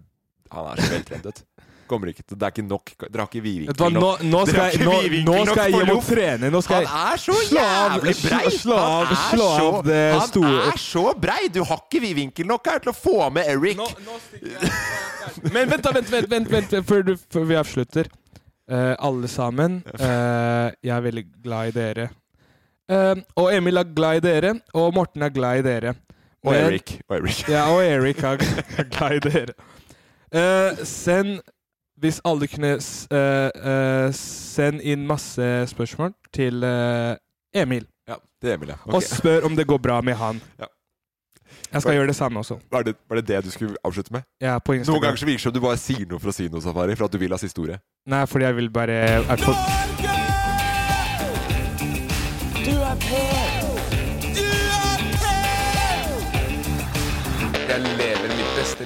Han er så veltrent, vet du. Kommer ikke til Det er ikke nok Dere har ikke
Vet du hva,
vidvinkel
nå,
nok.
nå,
Dere
skal
har
jeg,
ikke
nå, nå
vidvinkel nok
skal jeg
for
hjem og
loff.
trene. Nå skal jeg
Han er så
slå av-
jævlig brei!
Slå av,
Han er
slå av
så-
det
han
store
er så brei! Du har ikke vidvinkel nok her til å få med Eric.
Men vent, da, vent, vent, vent, vent før, du, før vi avslutter. Eh, alle sammen, eh, jeg er veldig glad i dere. Eh, og Emil er glad i dere, og Morten er glad i dere.
Og
Men-
Eric. Og Eric.
Ja, og Eric er er glad i dere. Eh, send Hvis alle kunne s- eh, eh, Send inn masse spørsmål til eh, Emil.
Ja, det er Emil, ja.
Og
Ok.
spør om det går bra med han.
Ja.
Jeg skal gjøre det samme også.
Var det, var det det du skulle avslutte med?
Jeg er på
Noen
Instagram.
ganger så virker det som du bare sier noe for å si noe, Safari, for at du vil ha siste ordet.
Nei, fordi jeg vil bare er på,
Du er pen! Du er pen!
Jeg lever mitt beste